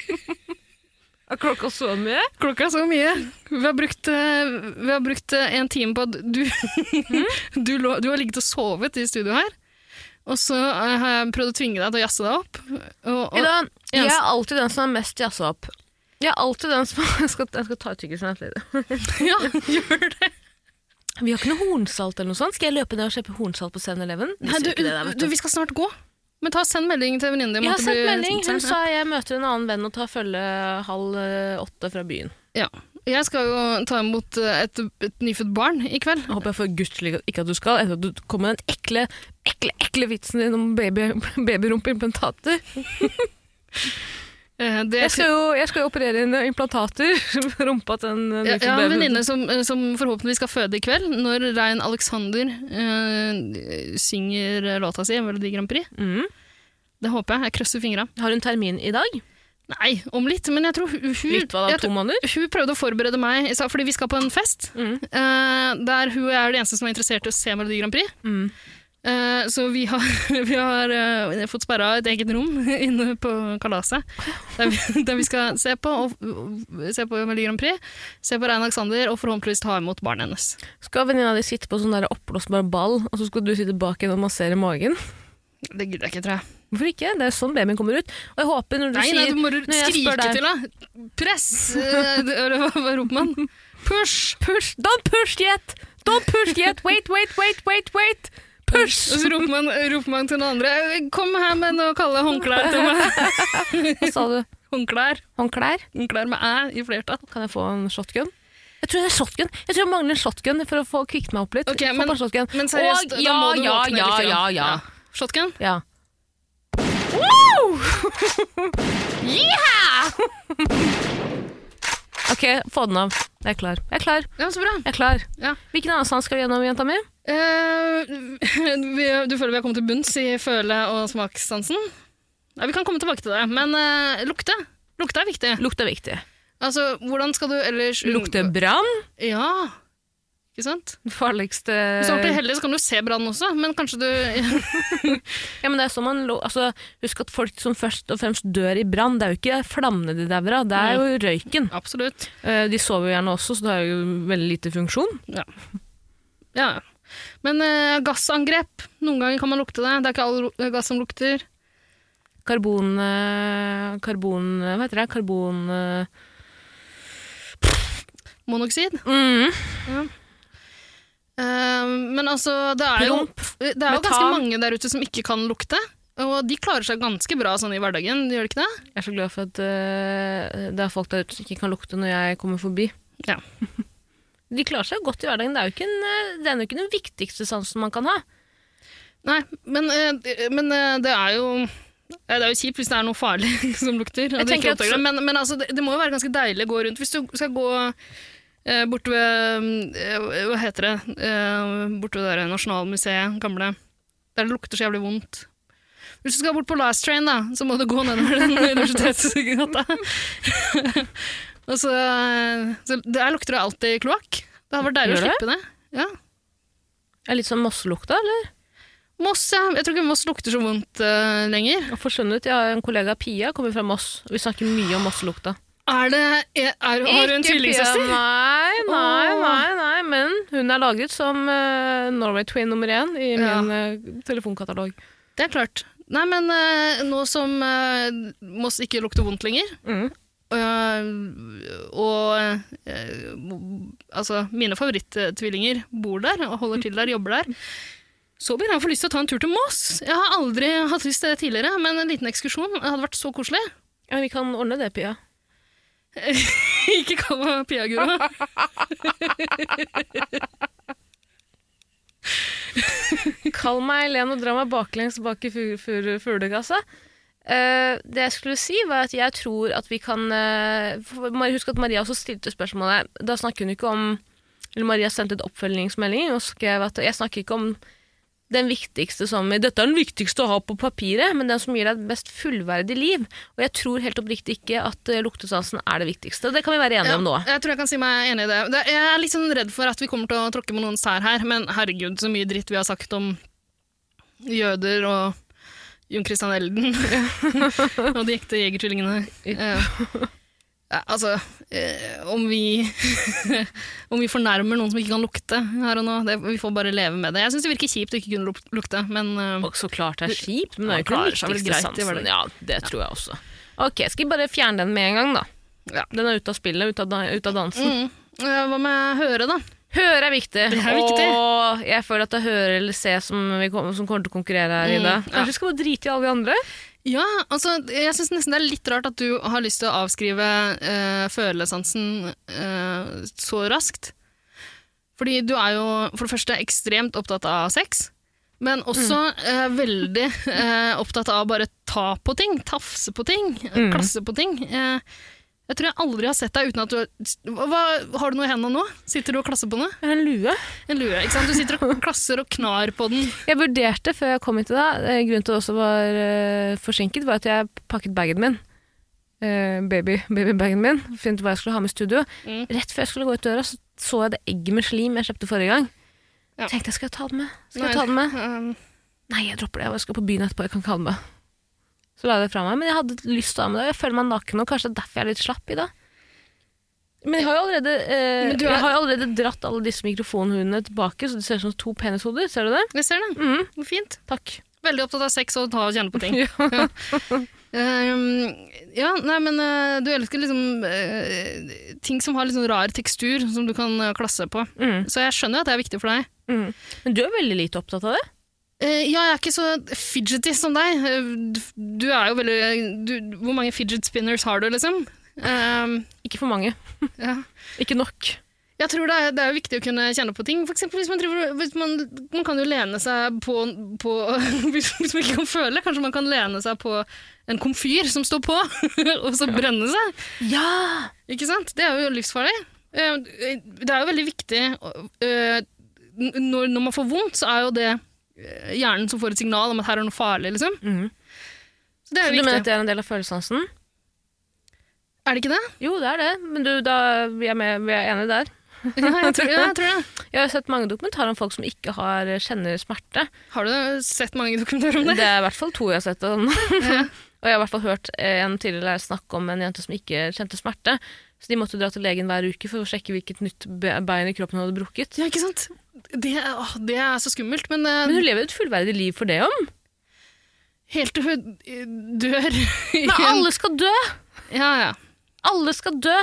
A: Er klokka så mye?
B: Klokka er så mye. Vi har brukt, eh, vi har brukt eh, en time på at du, du, lå, du har ligget og sovet i studio her. Og så eh, har jeg prøvd å tvinge deg til å jazze deg opp. Og, og,
A: Ida, jeg
B: Eneste-
A: er alltid den som er mest jazza opp. Jeg er alltid den som Jeg skal, jeg skal ta ut tyggisen etterligere.
B: ja, gjør det.
A: Vi har ikke noe hornsalt eller noe sånt. Skal jeg løpe ned og kjøpe hornsalt på 7-Eleven?
B: Nei, du, du, vi skal snart gå. Men ta send melding til venninnen din. om
A: Jeg
B: at
A: har
B: det
A: sendt
B: blir-
A: melding. Hun
B: Ja.
A: sa jeg møter en annen venn og tar følge halv eh, åtte fra byen.
B: ja. Jeg skal jo ta imot eh, et, et nyfødt barn i kveld.
A: Jeg håper jeg for guds skyld ikke at du skal, etter at du kom med den ekle, ekle, ekle vitsen din om baby, babyrumpeimplantater.
B: Eh, Det,
A: Jeg skal jo, jeg skal jo operere inn implantater. Rumpa til en eh,
B: Ja,
A: nyfødt
B: jeg har en
A: baby.
B: venninne som, eh, som forhåpentligvis skal føde i kveld, når Rein Alexander eh, synger låta si i Melodi Grand Prix.
A: Mm.
B: Det håper jeg. Jeg krøsser fingra.
A: Har hun termin i dag?
B: Nei, om litt, men jeg tror hun, hun,
A: Litt hva da,
B: jeg
A: to
B: tror-
A: måneder?
B: hun prøvde å forberede meg, i stad, fordi vi skal på en fest.
A: Mm.
B: eh, der hun og jeg er de eneste som er interessert i å se Melodi Grand Prix.
A: Mm.
B: Eh, så vi har, vi har eh, fått sperra et eget rom inne på kalaset, der vi, der vi skal se på, og, se på Melodi Grand Prix, se på Rein Alexander og forhåpentligvis ta imot barnet hennes.
A: Skal venninna di sitte på sånn der oppblåsbar ball, og så skal du sitte bak henne og massere magen?
B: Det gidder jeg ikke, tror jeg.
A: Hvorfor ikke? Det er sånn babyen kommer ut. Og jeg håper når du
B: Nei, nei,
A: sier
B: du må
A: når jeg
B: skrike
A: spør deg-
B: til henne. Press! eh, Eller hva, hva roper man? Push!
A: Push! Don't push yet! Don't push yet! Wait, wait, wait, wait, wait!
B: Og
A: Push!
B: så roper man, roper man til den andre. «Eh, Kom her med noe kalde håndklær til meg.
A: Hva sa du?
B: Håndklær.
A: Håndklær?
B: Håndklær med æ i flertall.
A: Kan jeg få en shotgun? Jeg tror det er shotgun. Jeg tror jeg mangler en shotgun for å få kvikt meg opp litt.
B: Ok,
A: Få
B: men-
A: på en shotgun.
B: Men seriøst,
A: Og,
B: da
A: ja,
B: må du
A: ja,
B: våkne
A: ja,
B: litt.
A: ja,
B: grann.
A: ja,
B: Shotgun?
A: ja. Ok, få den av. Jeg er klar. Jeg er klar.
B: Ja, så bra.
A: Jeg er klar.
B: Ja.
A: Hvilken annen sans skal vi gjennom, jenta mi?
B: Eh, vi, du føler vi har kommet til bunns i føle- og smakssansen? Ja, vi kan komme tilbake til det, men eh, lukte. Lukte er viktig.
A: Lukt er viktig.
B: Altså, hvordan skal du ellers unngå-
A: Lukter brann.
B: Ja. Ikke sant?
A: Det farligste
B: Hvis
A: Eh.
B: du er ordentlig heldig, så kan du se brannen også, men kanskje du
A: Ja, men det er sånn man lo- altså, Husk at folk som først og fremst dør i brann, det er jo ikke flammene de dauer av, det er jo røyken.
B: Absolutt.
A: Eh, De sover jo gjerne også, så det har jo veldig lite funksjon.
B: Ja. Men eh, gassangrep. Noen ganger kan man lukte det. Det er ikke all ru- gass som lukter.
A: Karbon eh, Karbon Hva heter det? Karbon eh,
B: Monoksid.
A: mm,
B: Eh, men altså, det er jo,
A: Promp.
B: det er jo ganske
A: Metan.
B: mange der ute som ikke kan lukte. Og de klarer seg ganske bra sånn i hverdagen, gjør de ikke det?
A: Jeg er så glad for at eh, det er folk der ute som ikke kan lukte når jeg kommer forbi.
B: Ja.
A: De klarer seg jo godt i hverdagen. Det er jo ikke, en, eh, det er jo ikke den viktigste sansen man kan ha.
B: Nei, men, eh, men eh, det er jo eh, det er jo kjipt hvis det er noe farlig som lukter.
A: Jeg
B: og du ikke
A: tenker at-
B: oppdager det. Men, men altså, det, det må jo være ganske deilig å gå rundt. Hvis du skal gå eh, bort ved eh, Hva heter det? Eh, bort ved det der Nasjonalmuseet, gamle. Der det lukter så jævlig vondt. Hvis du skal bort på Last Train, da, så må du gå nedover den universitetsgata. Og så, eh, så Der lukter det alltid kloakk. Det hadde vært deilig å
A: Gjør det?
B: slippe det. Ja.
A: Det er litt sånn mosselukta, eller?
B: Moss, ja. Jeg tror ikke Moss lukter så vondt eh, lenger.
A: Jeg har forsvunnet. Jeg har en kollega, Pia, kommer fra Moss. Vi snakker mye om mosselukta.
B: Er det, er, er, har du en
A: Ikke
B: tvillingsøster?
A: pia- Nei, nei,
B: Åh.
A: nei, nei, men hun er lagret som eh, Norway Twin nummer én i
B: Ja.
A: min eh, telefonkatalog.
B: Det er klart. Nei, men eh, nå som eh, Moss ikke lukter vondt lenger,
A: Mm.
B: eh, og eh, mo- altså, mine favoritt-tvillinger bor der og holder til der, jobber der, så begynner jeg å få lyst til å ta en tur til Moss. Jeg har aldri hatt lyst til det tidligere, men en liten ekskursjon hadde vært så koselig.
A: Ja, vi kan ordne det, Pia.
B: ikke kall meg Pia-guru.
A: Kall meg Helen og dra meg baklengs bak i fu- fu- fuglekassa. Eh, det jeg skulle si, var at jeg tror at vi kan eh, for- Mar- Husk at Maria også stilte spørsmålet. Da snakker hun ikke om eller Maria sendte et oppfølgingsmelding og skrev at jeg snakker ikke om den viktigste som Dette er den viktigste å ha på papiret, men den som gir deg et best fullverdig liv. Og jeg tror helt oppriktig ikke at eh, luktesansen er det viktigste. Det kan vi være enige om nå.
B: Jeg tror jeg kan si meg enig i det. Det- Jeg er litt sånn redd for at vi kommer til å tråkke på noen tær her, men herregud, så mye dritt vi har sagt om jøder og Jon Christian Elden og de ekte jegertvillingene. Eh, ja, altså, eh, om vi, om vi fornærmer noen som ikke kan lukte her og nå, det, vi får bare leve med det. Jeg syns det virker kjipt å ikke kunne luk- lukte, men eh,
A: Og så klart det er kjipt, men det er jo
B: Man
A: ikke den
B: klarer seg vel
A: viktigste
B: greit i
A: sansen.
B: hverdagen.
A: Ja, det tror jeg også. Ok, skal vi bare fjerne den med en gang, da?
B: Ja.
A: Den er ute av spillet, ute av, da- ute av dansen.
B: mm, eh, hva med høre, da?
A: Høre er viktig,
B: Det er viktig.
A: og jeg føler at det er høre eller se som, vi kom, som kommer til å konkurrere her i
B: Mm,
A: dag.
B: ja.
A: Kanskje vi skal bare drite i alle de andre?
B: Ja, altså, jeg syns nesten det er litt rart at du har lyst til å avskrive eh, følesansen eh, så raskt. Fordi du er jo for det første ekstremt opptatt av sex, men også
A: Mm.
B: eh, veldig eh, opptatt av å bare ta på ting, tafse på ting, eh,
A: Mm.
B: klasse på ting. Eh, jeg tror jeg aldri har sett deg uten at du har Hva, Har du noe i hendene nå? Sitter du og klasser på noe?
A: Det er en lue.
B: En lue, ikke sant? Du sitter og klasser og knar på den.
A: Jeg vurderte før jeg kom hit i dag, eh, grunnen til at det også var eh, forsinket, var at jeg pakket bagen min. Eh, baby, babybagen min. Fant ut hva jeg skulle ha med i studio.
B: Mm.
A: Rett før jeg skulle gå ut døra, så, så jeg det egget med slim jeg kjøpte forrige gang.
B: Ja.
A: Tenkte jeg, skal jeg ta det med? Skal
B: Nei,
A: jeg ta det med?
B: eh,
A: Nei, jeg dropper det. Jeg skal på byen etterpå. Jeg kan ikke ha det med. Så la jeg det fra meg. Men jeg hadde lyst til å ha med det. Jeg føler meg naken nå. Kanskje det er derfor jeg er litt slapp i dag. Men jeg har jo allerede, eh,
B: Men du er-
A: jeg har jo allerede dratt alle disse mikrofonhundene tilbake, så det ser ut som to penishoder. Ser du det?
B: jeg ser det.
A: Mhm,
B: Hvor fint.
A: takk.
B: Veldig opptatt av sex og ta og kjenne på ting. ja. Um, ja, nei, men eh, du elsker liksom eh, ting som har litt sånn rar tekstur, som du kan eh, klasse på.
A: Mm,
B: Så jeg skjønner at det er viktig for deg.
A: mm. Men du er veldig lite opptatt av det.
B: Eh, ja, jeg er ikke så fidgety som deg. Eh, du- Du er jo veldig du, Hvor mange fidget spinners har du, liksom? Um,
A: Ikke for mange.
B: ja.
A: Ikke nok.
B: Jeg tror det er, det er jo viktig å kunne kjenne på ting. For eksempel hvis man, driver, hvis man, man kan jo lene seg på, på hvis, hvis man ikke kan føle, kanskje man kan lene seg på en komfyr som står på, og så brenne seg.
A: Ja!
B: Ikke sant? Det er jo livsfarlig. Eh, Det er jo veldig viktig eh, n- når, når man får vondt, så er jo det eh, hjernen som får et signal om at her er noe farlig, liksom.
A: Mm.
B: Så det
A: Så
B: er
A: du
B: jo
A: mener at
B: viktig.
A: det er en del av følelsesansen?
B: Er det ikke det?
A: Jo, det er det. Men du, da, vi, er med, vi er enige der.
B: Ja, jeg tror, ja, jeg tror det.
A: Jeg har sett mange dokumentarer om folk som ikke har, eh, kjenner smerte.
B: Har du sett mange dokumentarer om det?
A: Det er i hvert fall to jeg har sett. Om.
B: Ja.
A: og jeg har i hvert fall hørt eh, en tidligere lærer snakke om en jente som ikke kjente smerte. Så de måtte dra til legen hver uke for å sjekke hvilket nytt be- bein i kroppen hun hadde brukket.
B: Ja, ikke sant? Det, er- åh, det er så skummelt, men, eh,
A: Men hun lever et fullverdig liv for det om.
B: Helt til hun eh, dør. i
A: Men
B: en-
A: alle skal dø!
B: Ja, ja.
A: Alle skal dø!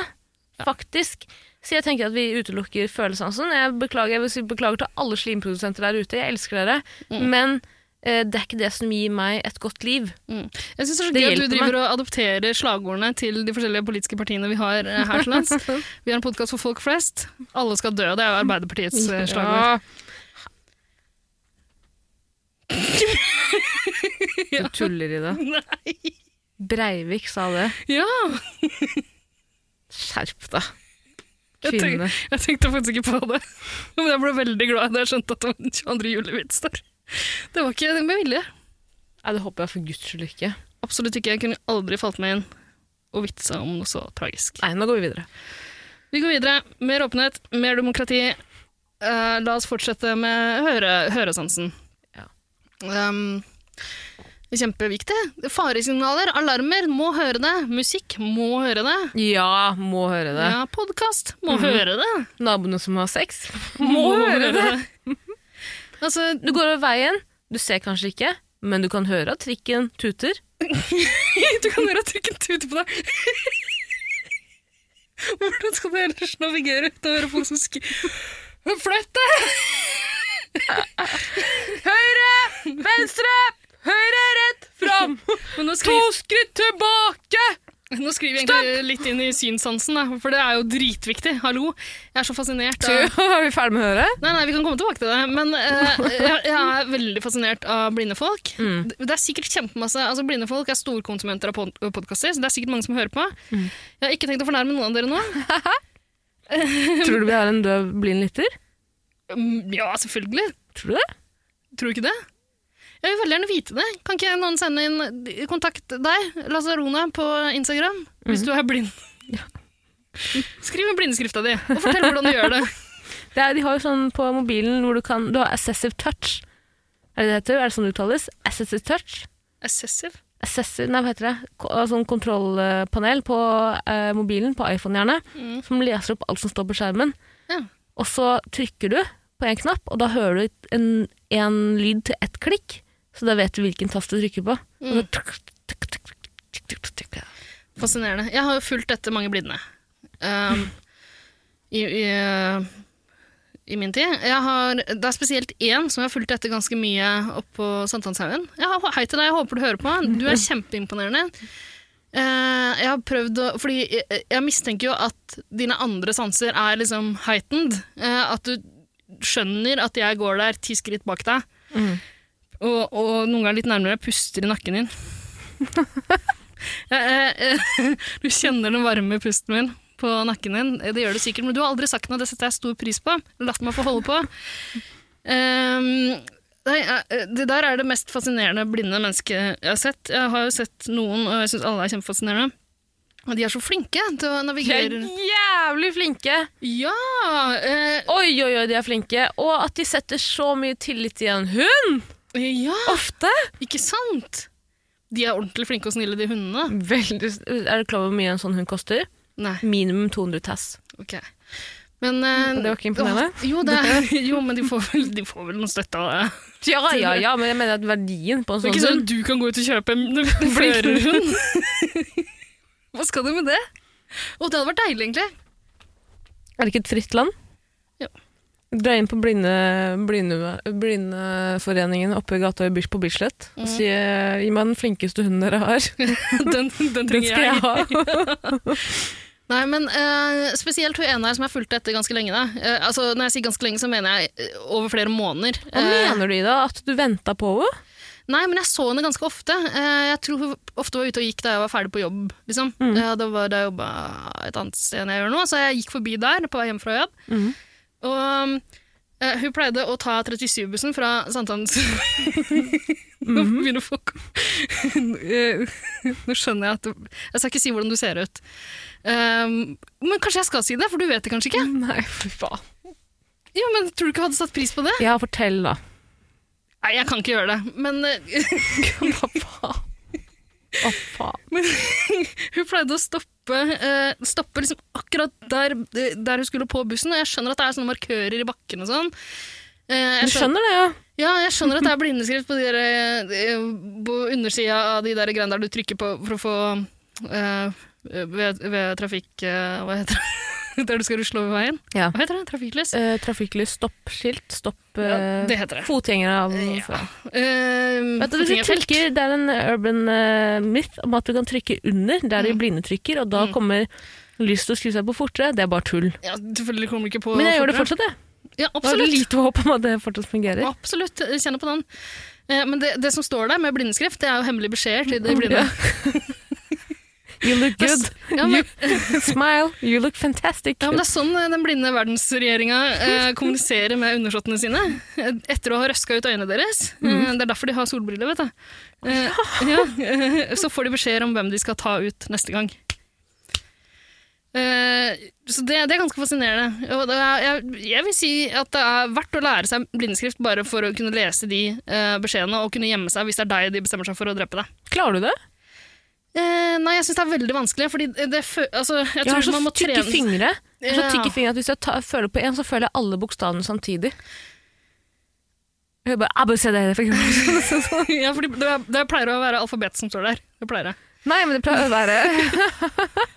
A: Faktisk. Så jeg tenker at vi utelukker følelsesansen. Jeg beklager, jeg vil si beklager til alle slimprodusenter der ute, jeg elsker dere.
B: Mm.
A: Men eh, det er ikke det som gir meg et godt liv.
B: Jeg synes det er så
A: Det
B: gøy at du
A: hjelper
B: driver og adopterer slagordene til de forskjellige politiske partiene vi har eh, her til lands. Vi har en podkast for folk flest. Alle skal dø. Det er jo Arbeiderpartiets eh, slagord.
A: Ja. Du tuller i det.
B: Nei.
A: Breivik sa det.
B: Ja!
A: Skjerp deg.
B: Jeg
A: Kvinne.
B: Jeg tenkte faktisk ikke på det. Men jeg ble veldig glad da jeg skjønte at det var en 22. julevits der. Det var ikke med vilje.
A: Nei, det håper jeg for guds skyld ikke.
B: Absolutt ikke. Jeg kunne aldri falt meg inn å vitse om noe så tragisk.
A: Nei, nå går vi videre.
B: Vi går videre. Mer åpenhet, mer demokrati. Eh, la oss fortsette med høre, høresansen.
A: Ja.
B: Um, Kjempeviktig. Faresignaler, alarmer, må høre det. Musikk, må høre det.
A: Ja, må høre det.
B: Ja, podkast, må høre det.
A: Naboene som har sex.
B: Må høre det. altså,
A: Du går over veien, du ser kanskje ikke, men du kan høre at trikken tuter.
B: du kan høre at du ikke tuter på deg. Hvordan skal du ellers navigere uten å høre folk som skriver Flytt deg!
A: Høyre, venstre, høyre, rett, fram!
B: Men nå skriver,
A: skritt tilbake!
B: nå skriver jeg egentlig litt inn i synssansen, da, for det er jo dritviktig. Hallo. Jeg er så fascinert. av-
A: er vi ferdig med å høre?
B: Nei, nei, vi kan komme tilbake til det, men eh, jeg, jeg er veldig fascinert av blinde folk.
A: Mm.
B: Det er sikkert kjempemasse, altså Blinde folk er storkonsumenter av pod podkaster, så det er sikkert mange som hører på. Jeg har ikke tenkt å fornærme noen av dere nå.
A: Tror du vi har en døv blind lytter?
B: Mm, Ja, selvfølgelig.
A: Tror du det?
B: Tror du ikke det? Jeg vil veldig gjerne vite det. Kan ikke noen sende inn eh, kontakt deg, Lazarona, på Instagram, hvis du er blind? Skriv med blindeskrifta di, og fortell hvordan du gjør det.
A: det er, de har jo sånn på mobilen hvor du kan Du har assessive touch. Er det det heter? Er det sånn det uttales? Assessive touch?
B: Assessive.
A: Assessive, nei, hva heter det? Ko- altså Sånn kontrollpanel på eh, mobilen, på iPhone gjerne, som leser opp alt som står på skjermen.
B: Ja.
A: Og så trykker du på en knapp, og da hører du en, en lyd til ett klikk. Så da vet du hvilken tast du trykker på. Og så tuk, tuk, tuk, tuk, tuk, tuk, tuk, tuk.
B: Fascinerende. Jeg har jo fulgt etter mange blinde. Um, i, i, I min tid. Jeg har, det er spesielt én som jeg har fulgt etter ganske mye oppe på Sankthanshaugen. Jeg har- Hei til deg, jeg håper du hører på. Du er kjempeimponerende. Eh, jeg har prøvd å Fordi jeg, jeg mistenker jo at dine andre sanser er liksom heightened. Eh, at du skjønner at jeg går der ti skritt bak deg.
A: Mm.
B: Og, og noen ganger litt nærmere. Jeg puster i nakken din. Jeg- jeg- jeg- Du kjenner den varme pusten min på nakken din. Eh, Det gjør du sikkert, men du har aldri sagt noe. Det setter jeg stor pris på. Latt meg få holde på. Ehm, nei, eh, det der er det mest fascinerende blinde mennesket jeg har sett. Jeg har jo sett noen, og jeg syns alle er kjempefascinerende. Og de er så flinke til å
A: De er
B: navigere
A: jævlig flinke!
B: Ja! eh,
A: Oi, oi, oi, de er flinke. Og at de setter så mye tillit i en hund!
B: ja,
A: Ofte!
B: ikke sant? De er ordentlig flinke og snille, de hundene.
A: Veldig, er du klar over hvor mye en sånn hund koster?
B: Nei,
A: Minimum 200 tass.
B: ok. Men eh,
A: Og det var ikke imponerende?
B: Åh, Jo, det er, Sånn jo men de får, vel, de får vel noe støtte av det.
A: Ja, ja, ja, men jeg mener at verdien på en
B: Det
A: sånn
B: er ikke sånn
A: hund
B: at du kan gå ut og kjøpe en flørerhund. Hva skal du med det? Å, det hadde vært deilig, egentlig.
A: Er det ikke et fritt land?
B: Jo.
A: Dra inn på blinde, blinde, Blindeforeningen oppe i gata i Bis- på Bislett og si eh, gi meg den flinkeste hunden dere har.
B: Den, den
A: Den
B: trenger
A: skal jeg
B: jeg.
A: ha.
B: Nei, men eh, Spesielt hun ene her som jeg fulgte etter ganske lenge. da. Eh, altså, Når jeg sier ganske lenge, så mener jeg eh, over flere måneder.
A: Hva
B: Eh,
A: mener du, Ida? At du venta på henne?
B: Nei, men jeg så henne ganske ofte. Eh, Jeg tror hun ofte var ute og gikk da jeg var ferdig på jobb. liksom. Eh, Det var da jeg jobba et annet sted enn jeg gjør nå, så jeg gikk forbi der på vei hjem fra jobb.
A: Mhm.
B: Og eh, hun pleide å ta 37-bussen fra Sankthans... Nå begynner folk Eh, Nå skjønner jeg at Jeg skal ikke si hvordan du ser ut. Um, men kanskje jeg skal si det, for du vet det kanskje ikke?
A: Nei, fy faen.
B: Jo, men Tror du ikke hun hadde satt pris på det?
A: Ja, fortell, da.
B: Nei, jeg kan ikke gjøre det. Men eh,
A: Hva faen? Hva faen?
B: Hun pleide å stoppe, eh, stoppe liksom akkurat der, der hun skulle på bussen, og jeg skjønner at det er sånne markører i bakken og sånn. Eh, jeg
A: Du skjønner det, ja?
B: Ja, jeg skjønner at det er blindeskrift på, de der, eh, på undersida av de der greiene der du trykker på for å få eh, ved, ved trafikk... eh, hva heter det? Der du skal rusle over veien?
A: Ja.
B: Hva heter det? Trafikklys?
A: Eh, trafikklys, stoppskilt, stopp
B: Ja,
A: eh,
B: det heter det.
A: Fotgjengere av
B: Ja. Eh,
A: Vet du, hvis du
B: fotgjengerfelt.
A: trykker, Det er en urban eh, myth om at du kan trykke under der
B: Mm.
A: de blinde trykker, og da kommer lyst til å skru seg på fortere. Det er bare tull.
B: Ja, selvfølgelig kommer du ikke på
A: Men jeg gjør det
B: fortere.
A: fortsatt, jeg.
B: Ja,
A: Da har
B: absolutt.
A: jeg lite håp om at det fortsatt fungerer.
B: Absolutt, jeg kjenner på den. Eh, Men det, det som står der med blindeskrift, det er jo hemmelige beskjeder til de blinde.
A: You look
B: Det er
A: good,
B: s- Ja, men,
A: smile, you look fantastic.
B: ja, men det er sånn eh, den blinde verdensregjeringa eh, kommuniserer med undersåttene sine. eh, Etter å ha røska ut øynene deres. Eh, det er derfor de har solbriller, vet du. Eh, ja, eh, så får de beskjeder om hvem de skal ta ut neste gang. Eh, så det, det er ganske fascinerende. Og det er, jeg, jeg vil si at det er verdt å lære seg blindskrift bare for å kunne lese de eh, beskjedene og kunne gjemme seg hvis det er deg de bestemmer seg for å drepe deg.
A: Klarer du det?
B: Eh, nei, jeg syns det er veldig vanskelig, fordi det fø altså, jeg,
A: Jeg har
B: tror
A: så
B: man må
A: tykke
B: trene
A: fingre. Jeg har så
B: Ja.
A: tykke fingre at Hvis jeg ta, føler på én, så føler jeg alle bokstavene samtidig. Jeg hører bare ABCD for eksempel. sånn.
B: ja, fordi det, det pleier å være alfabetet som står der. Det pleier det.
A: Nei, men det pleier å være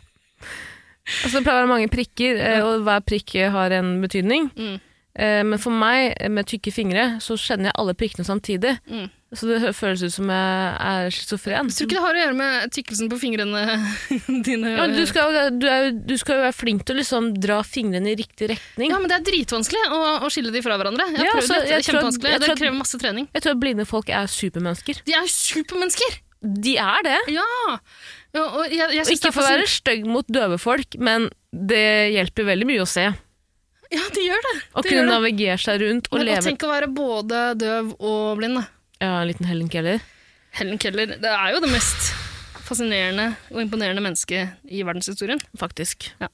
A: Altså Det pleier å være mange prikker, eh, og hver prikk har en betydning.
B: Mm.
A: Eh, Men for meg, eh, med tykke fingre, så kjenner jeg alle prikkene samtidig.
B: Mm.
A: Så det hø- føles ut som jeg er schizofren.
B: Jeg tror ikke det har å gjøre med tykkelsen på fingrene dine.
A: Ja, men du, skal, jo- du, er, jo- du skal jo være flink til å liksom dra fingrene i riktig retning.
B: Ja, men det er dritvanskelig å, å skille de fra hverandre. Jeg har
A: Ja,
B: prøvd
A: altså,
B: dette, det
A: jeg
B: er
A: tror at-
B: kjempevanskelig.
A: jeg tror
B: Det
A: at-
B: krever masse trening.
A: Jeg tror blinde folk er supermennesker.
B: De er supermennesker!
A: De er det.
B: Ja! ja og jeg, jeg
A: Og
B: synes det
A: ikke
B: er
A: for å være
B: fascin-
A: stygg mot døve folk, men det hjelper veldig mye å se.
B: Ja, de gjør det.
A: Å
B: Det
A: kunne
B: gjør det.
A: navigere seg rundt og
B: Men å
A: leve
B: tenke å være både døv og blind. da.
A: Ja, en liten Helen Keller.
B: Helen Keller det er jo det mest fascinerende og imponerende mennesket i verdenshistorien.
A: Faktisk.
B: Ja.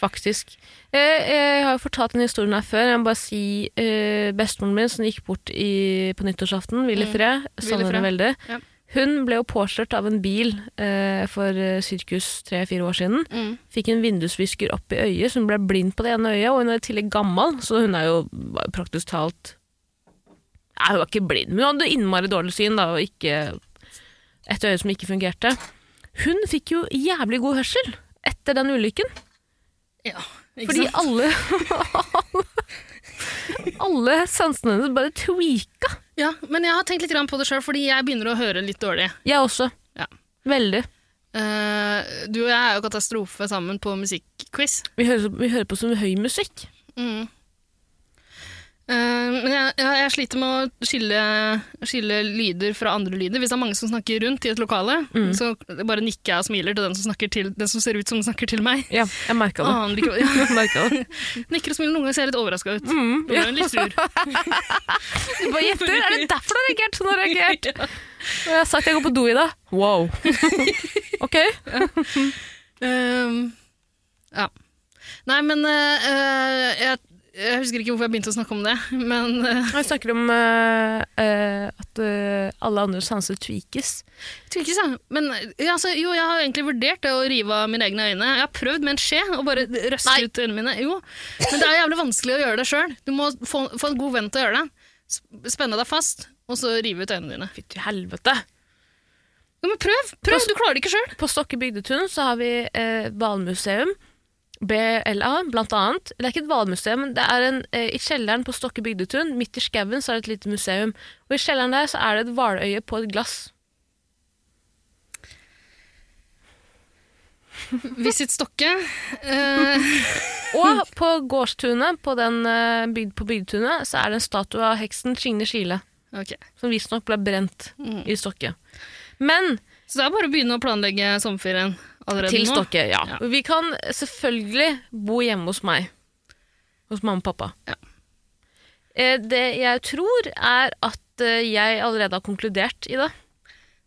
A: Faktisk. Jeg, jeg har jo fortalt denne historien her før. Jeg må bare si eh, Bestemoren min, som gikk bort i, på nyttårsaften, Ville
B: Mm.
A: Fred, savner
B: Fred.
A: henne veldig,
B: Ja.
A: hun ble jo påkjørt av en bil eh, for eh, sirkus tre-fire år siden. Fikk en vindusvisker opp i øyet, så hun ble blind på det ene øyet. Og hun er i tillegg gammel, så hun er jo var jo praktisk talt Nei, hun var ikke blind, men hun hadde innmari dårlig syn, da, og ikke et øye som ikke fungerte. Hun fikk jo jævlig god hørsel etter den ulykken,
B: Ja, ikke
A: fordi
B: sant?
A: alle Alle sansene hennes bare tweaka.
B: ja, Men jeg har tenkt litt grann på det sjøl, fordi jeg begynner å høre litt dårlig.
A: Jeg også.
B: Ja.
A: Veldig.
B: Eh, du og jeg er jo katastrofe sammen på musikkquiz.
A: Vi hører, vi hører på som høy musikk.
B: Mm. Eh, men jeg, jeg, jeg sliter med å skille, skille lyder fra andre lyder. Hvis det er mange som snakker rundt i et lokale, så bare nikker jeg og smiler til den som, snakker til, den som ser ut som den snakker til meg.
A: Ja, jeg merka det.
B: Aner ikke, hva-
A: Jeg merket det.
B: ja. Nikker og smiler noen ganger ser jeg litt overraska ut.
A: Mm,
B: Noen ganger litt sur.
A: Du bare gjetter? Er det derfor du har reagert sånn? du har reagert? Og jeg har sagt jeg går på do i dag. Wow. ok.
B: Ehm, ja. Nei, men eh, eh, jeg, jeg husker ikke hvorfor jeg begynte å snakke om det, men eh,
A: Jeg snakker om eh, eh, at eh, alle andre sanser tweakes.
B: Jeg tror ikke så. Men ja, altså, jo, jeg har egentlig vurdert det å rive av mine egne øyne. Jeg har prøvd med en skje og bare røske
A: Nei.
B: ut øynene mine. Jo, men det er jævlig vanskelig å gjøre det sjøl. Du må få, få en god venn til å gjøre det. Sp- Spenne deg fast, og så rive ut øynene dine.
A: Fy til helvete.
B: Jo, men prøv! Prøv! Du klarer det ikke sjøl.
A: På Stokke bygdetun så har vi eh, hvalmuseum. BLA, blant annet. Det er ikke et hvalmuseum, men det er en, eh, i kjelleren på Stokke bygdetun, midt i skauen, så er det et lite museum. Og i kjelleren der så er det et hvaløye på et glass.
B: Visit Stokke. Eh,
A: Og på gårdstunet, på, den, eh, bygd, på bygdetunet, så er det en statue av heksen Trine Skile.
B: ok.
A: som visstnok ble brent
B: Mm.
A: i Stokke. Men
B: Så det er bare å begynne å planlegge sommerferien allerede
A: til
B: nå.
A: Stokke, ja.
B: Ja.
A: Vi kan selvfølgelig bo hjemme hos meg. Hos mamma og pappa.
B: Ja.
A: Eh, Det jeg tror, er at eh, jeg allerede har konkludert i det.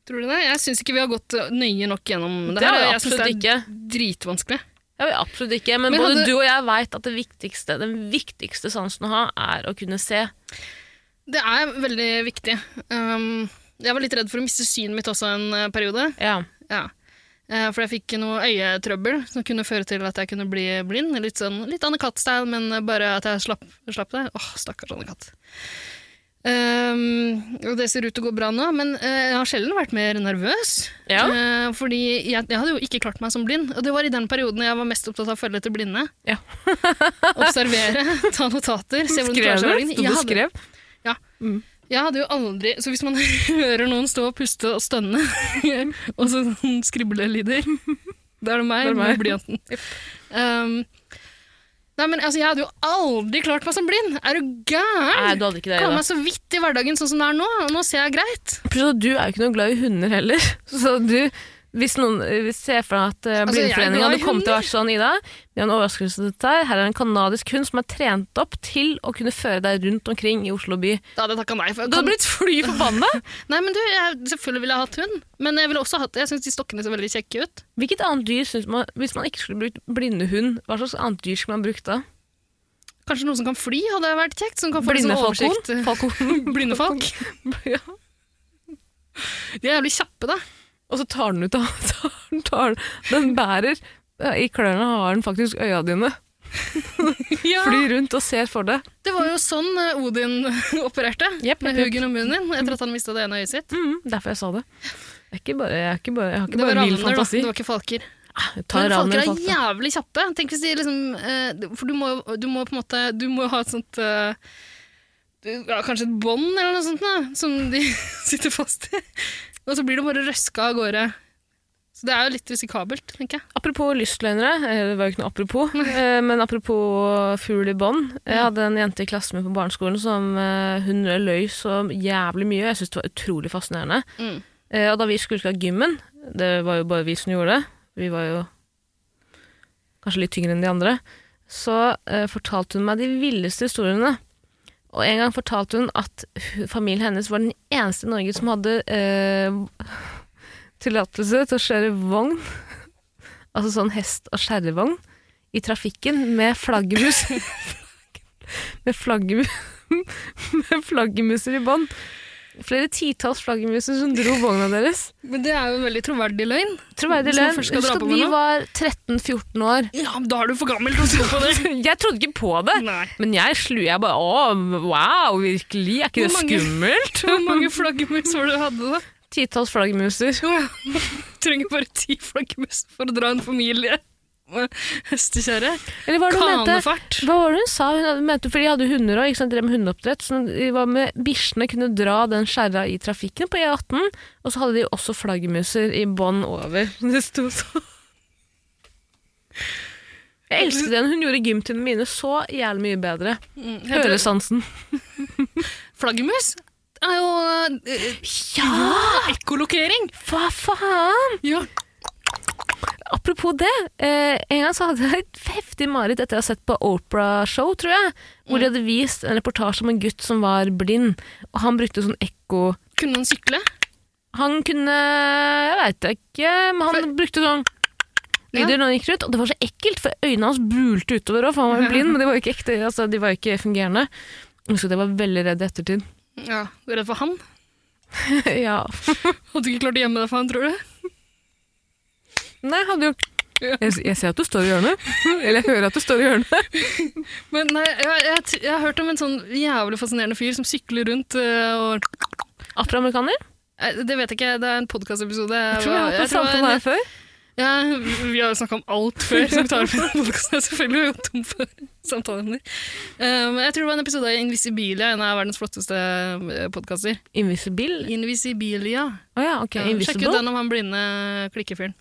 B: Tror du det? Jeg syns ikke vi har gått nøye nok gjennom det,
A: Det
B: her.
A: har vi
B: og jeg synes
A: absolutt
B: det er dritvanskelig.
A: Jeg vil absolutt ikke, men,
B: Men
A: både
B: hadde-
A: du og jeg veit at det viktigste, den viktigste sansen å ha, er å kunne se.
B: Det er veldig viktig. Um, jeg var litt redd for å miste synet mitt også en eh, periode.
A: Ja.
B: Ja. Eh, For jeg fikk noe øyetrøbbel som kunne føre til at jeg kunne bli blind. Litt, sånn, litt Anne Katt-style, men eh, bare at jeg slapp, slapp det. Åh, stakkars Anne Katt. Um, og det ser ut til å gå bra nå, men eh, jeg har sjelden vært mer nervøs.
A: Ja.
B: Eh, fordi jeg, jeg hadde jo ikke klart meg som blind, og det var i den perioden jeg var mest opptatt av å følge etter blinde.
A: Ja.
B: Observere, ta notater, se hvordan de klarer seg. over dagen.
A: Sto du
B: Jeg
A: og
B: hadde-
A: skrev?
B: jeg hadde jo aldri Så hvis man hører noen stå og puste og stønne, og så sånn skriblelyder, da er det meg
A: Da er det meg.
B: med blyanten. Um, nei, men altså, jeg hadde jo aldri klart meg som blind! Er du
A: Nei,
B: gæren?
A: du hadde ikke det.
B: Jeg klarer
A: Ida.
B: meg så vidt i hverdagen sånn som det er nå, og nå ser jeg greit.
A: Plutselig, du er jo ikke noe glad i hunder heller. Så du, Hvis noen eh, hvis ser for deg at eh,
B: Altså, jeg er
A: Blindeforeningen
B: glad i
A: hadde kommet til å være sånn, Ida Vi har en overraskelse til deg. Her er en kanadisk hund som er trent opp til å kunne føre deg rundt omkring i Oslo by.
B: Da hadde jeg takka nei. For,
A: Du hadde blitt fly forbanna!
B: Nei, men du, jeg, Selvfølgelig ville jeg hatt hund, men jeg ville også hatt, jeg syns de stokkene ser veldig kjekke ut.
A: Hvilket annet dyr synes man Hvis man ikke skulle brukt blindehund, hva slags annet dyr skulle man brukt da?
B: Kanskje noen som kan fly, hadde vært kjekt. Som kan få litt sånn
A: Blindefolkon?
B: oversikt.
A: Falkon?
B: Blinde folk.
A: ja.
B: De er jævlig kjappe, da.
A: Og så tar den ut av tar, den- tar, den- Den bærer ja, I klørne har den faktisk øya dine. Flyr rundt og ser for deg.
B: Det var jo sånn eh, Odin opererte,
A: Jepp, jepp,
B: med
A: jepp.
B: huggen om munnen etter at han mista det ene øyet sitt.
A: Mhm, derfor jeg sa det. Jeg, er ikke bare, jeg, er ikke bare, jeg har ikke
B: Det var
A: bare vill
B: ravner, da.
A: fantasi.
B: Det var ikke falker.
A: Jeg tar
B: Men
A: ravner
B: falker
A: og
B: er
A: falker.
B: jævlig kjappe. Tenk hvis de liksom eh, For du må jo du må på en måte Du må jo ha et sånt eh, du- ja, Kanskje et bånd eller noe sånt da, som de sitter fast i. Og så blir det bare røska av gårde. Så det er jo litt risikabelt, tenker jeg.
A: Apropos lystløgnere, eh, det var jo ikke noe apropos, eh, men apropos fugl i bånd. Jeg hadde en jente i klassen min på barneskolen som eh, hun løy så jævlig mye, og jeg syntes det var utrolig fascinerende.
B: Mm.
A: Eh, Og da vi skulle til gymmen, det var jo bare vi som gjorde det, vi var jo kanskje litt tyngre enn de andre, så eh, fortalte hun meg de villeste historiene. Og en gang fortalte hun at hu- familien hennes var den eneste i Norge som hadde eh, tillatelse til å kjøre vogn, altså sånn hest- og skjærevogn, i trafikken med flaggermus. med, flaggermu med flaggermuser i bånd. Flere titalls flaggermuser som dro vogna deres.
B: Men det er jo en veldig troverdig løgn.
A: Troverdig
B: Hvis man
A: løgn.
B: først skal
A: Husk
B: dra
A: at
B: på
A: vi
B: med noe.
A: var 13-14 år.
B: Ja, men da er du for gammel til å tro på det!
A: Jeg trodde ikke på det.
B: Nei.
A: Men jeg slu, jeg bare Å, wow, virkelig? Er ikke
B: Hvor
A: det
B: mange- Hvor
A: skummelt?
B: mange flaggermus var det du hadde, da?
A: Titalls flaggermuser.
B: Jo, ja. Trenger bare ti flaggermus for å dra en familie med hestekjerre.
A: Eller hva var det hun mente?
B: Kanefart.
A: Hva var det hun sa? Hun hadde- mente, for de hadde hunder òg, drev med hundeoppdrett. Så de var med bikkjene kunne dra den skjæra i trafikken på E18. Og så hadde de også flaggermuser i bånd over. Det sto så Jeg elsket den. Hun gjorde gymtimene mine så jævlig mye bedre.
B: Mm, heter det-
A: Høresansen.
B: Flaggermus er jo eh,
A: Ja,
B: ekkolokering.
A: hva faen?
B: Ja.
A: Apropos det, eh, en gang så hadde jeg et heftig mareritt etter jeg hadde sett på Opera-show, tror jeg, hvor de hadde vist en reportasje om en gutt som var blind, og han brukte sånn ekko...
B: Kunne han sykle?
A: Han kunne, jeg vet ikke, men han
B: For-
A: brukte sånn lyder når han gikk rundt, og det var så ekkelt, for øynene hans bulte utover også, for han var jo blind, men de var jo ikke ekte, altså de var jo ikke fungerende. Så jeg var veldig redd i ettertid.
B: Ja. Du er redd for han?
A: ja.
B: Hadde du ikke klart å gjemme deg for han, tror du?
A: Nei, jeg hadde jo...
B: Ja.
A: Jeg, jeg ser at du står i hjørnet, eller jeg hører at du står i hjørnet.
B: Men nei, jeg, jeg, t- jeg har hørt om en sånn jævlig fascinerende fyr som sykler rundt eh, og
A: Afroamerikaner?
B: Nei, Det vet jeg ikke, det er en podkastepisode.
A: Jeg tror vi har hatt en
B: tror det var
A: samtale
B: en-
A: her før.
B: Ja, vi har jo snakka om alt før, så vi tar det på den podkasten. Selvfølgelig er vi jo tom for samtaleemner. Eh, men jeg tror det var en episode av Invisibilia, en av verdens flotteste podkaster.
A: Invisibil?
B: Invisibilia.
A: Å ja, ok.
B: Ja, Sjekk ut
A: Invisible.
B: den om han blinde klikkefyren.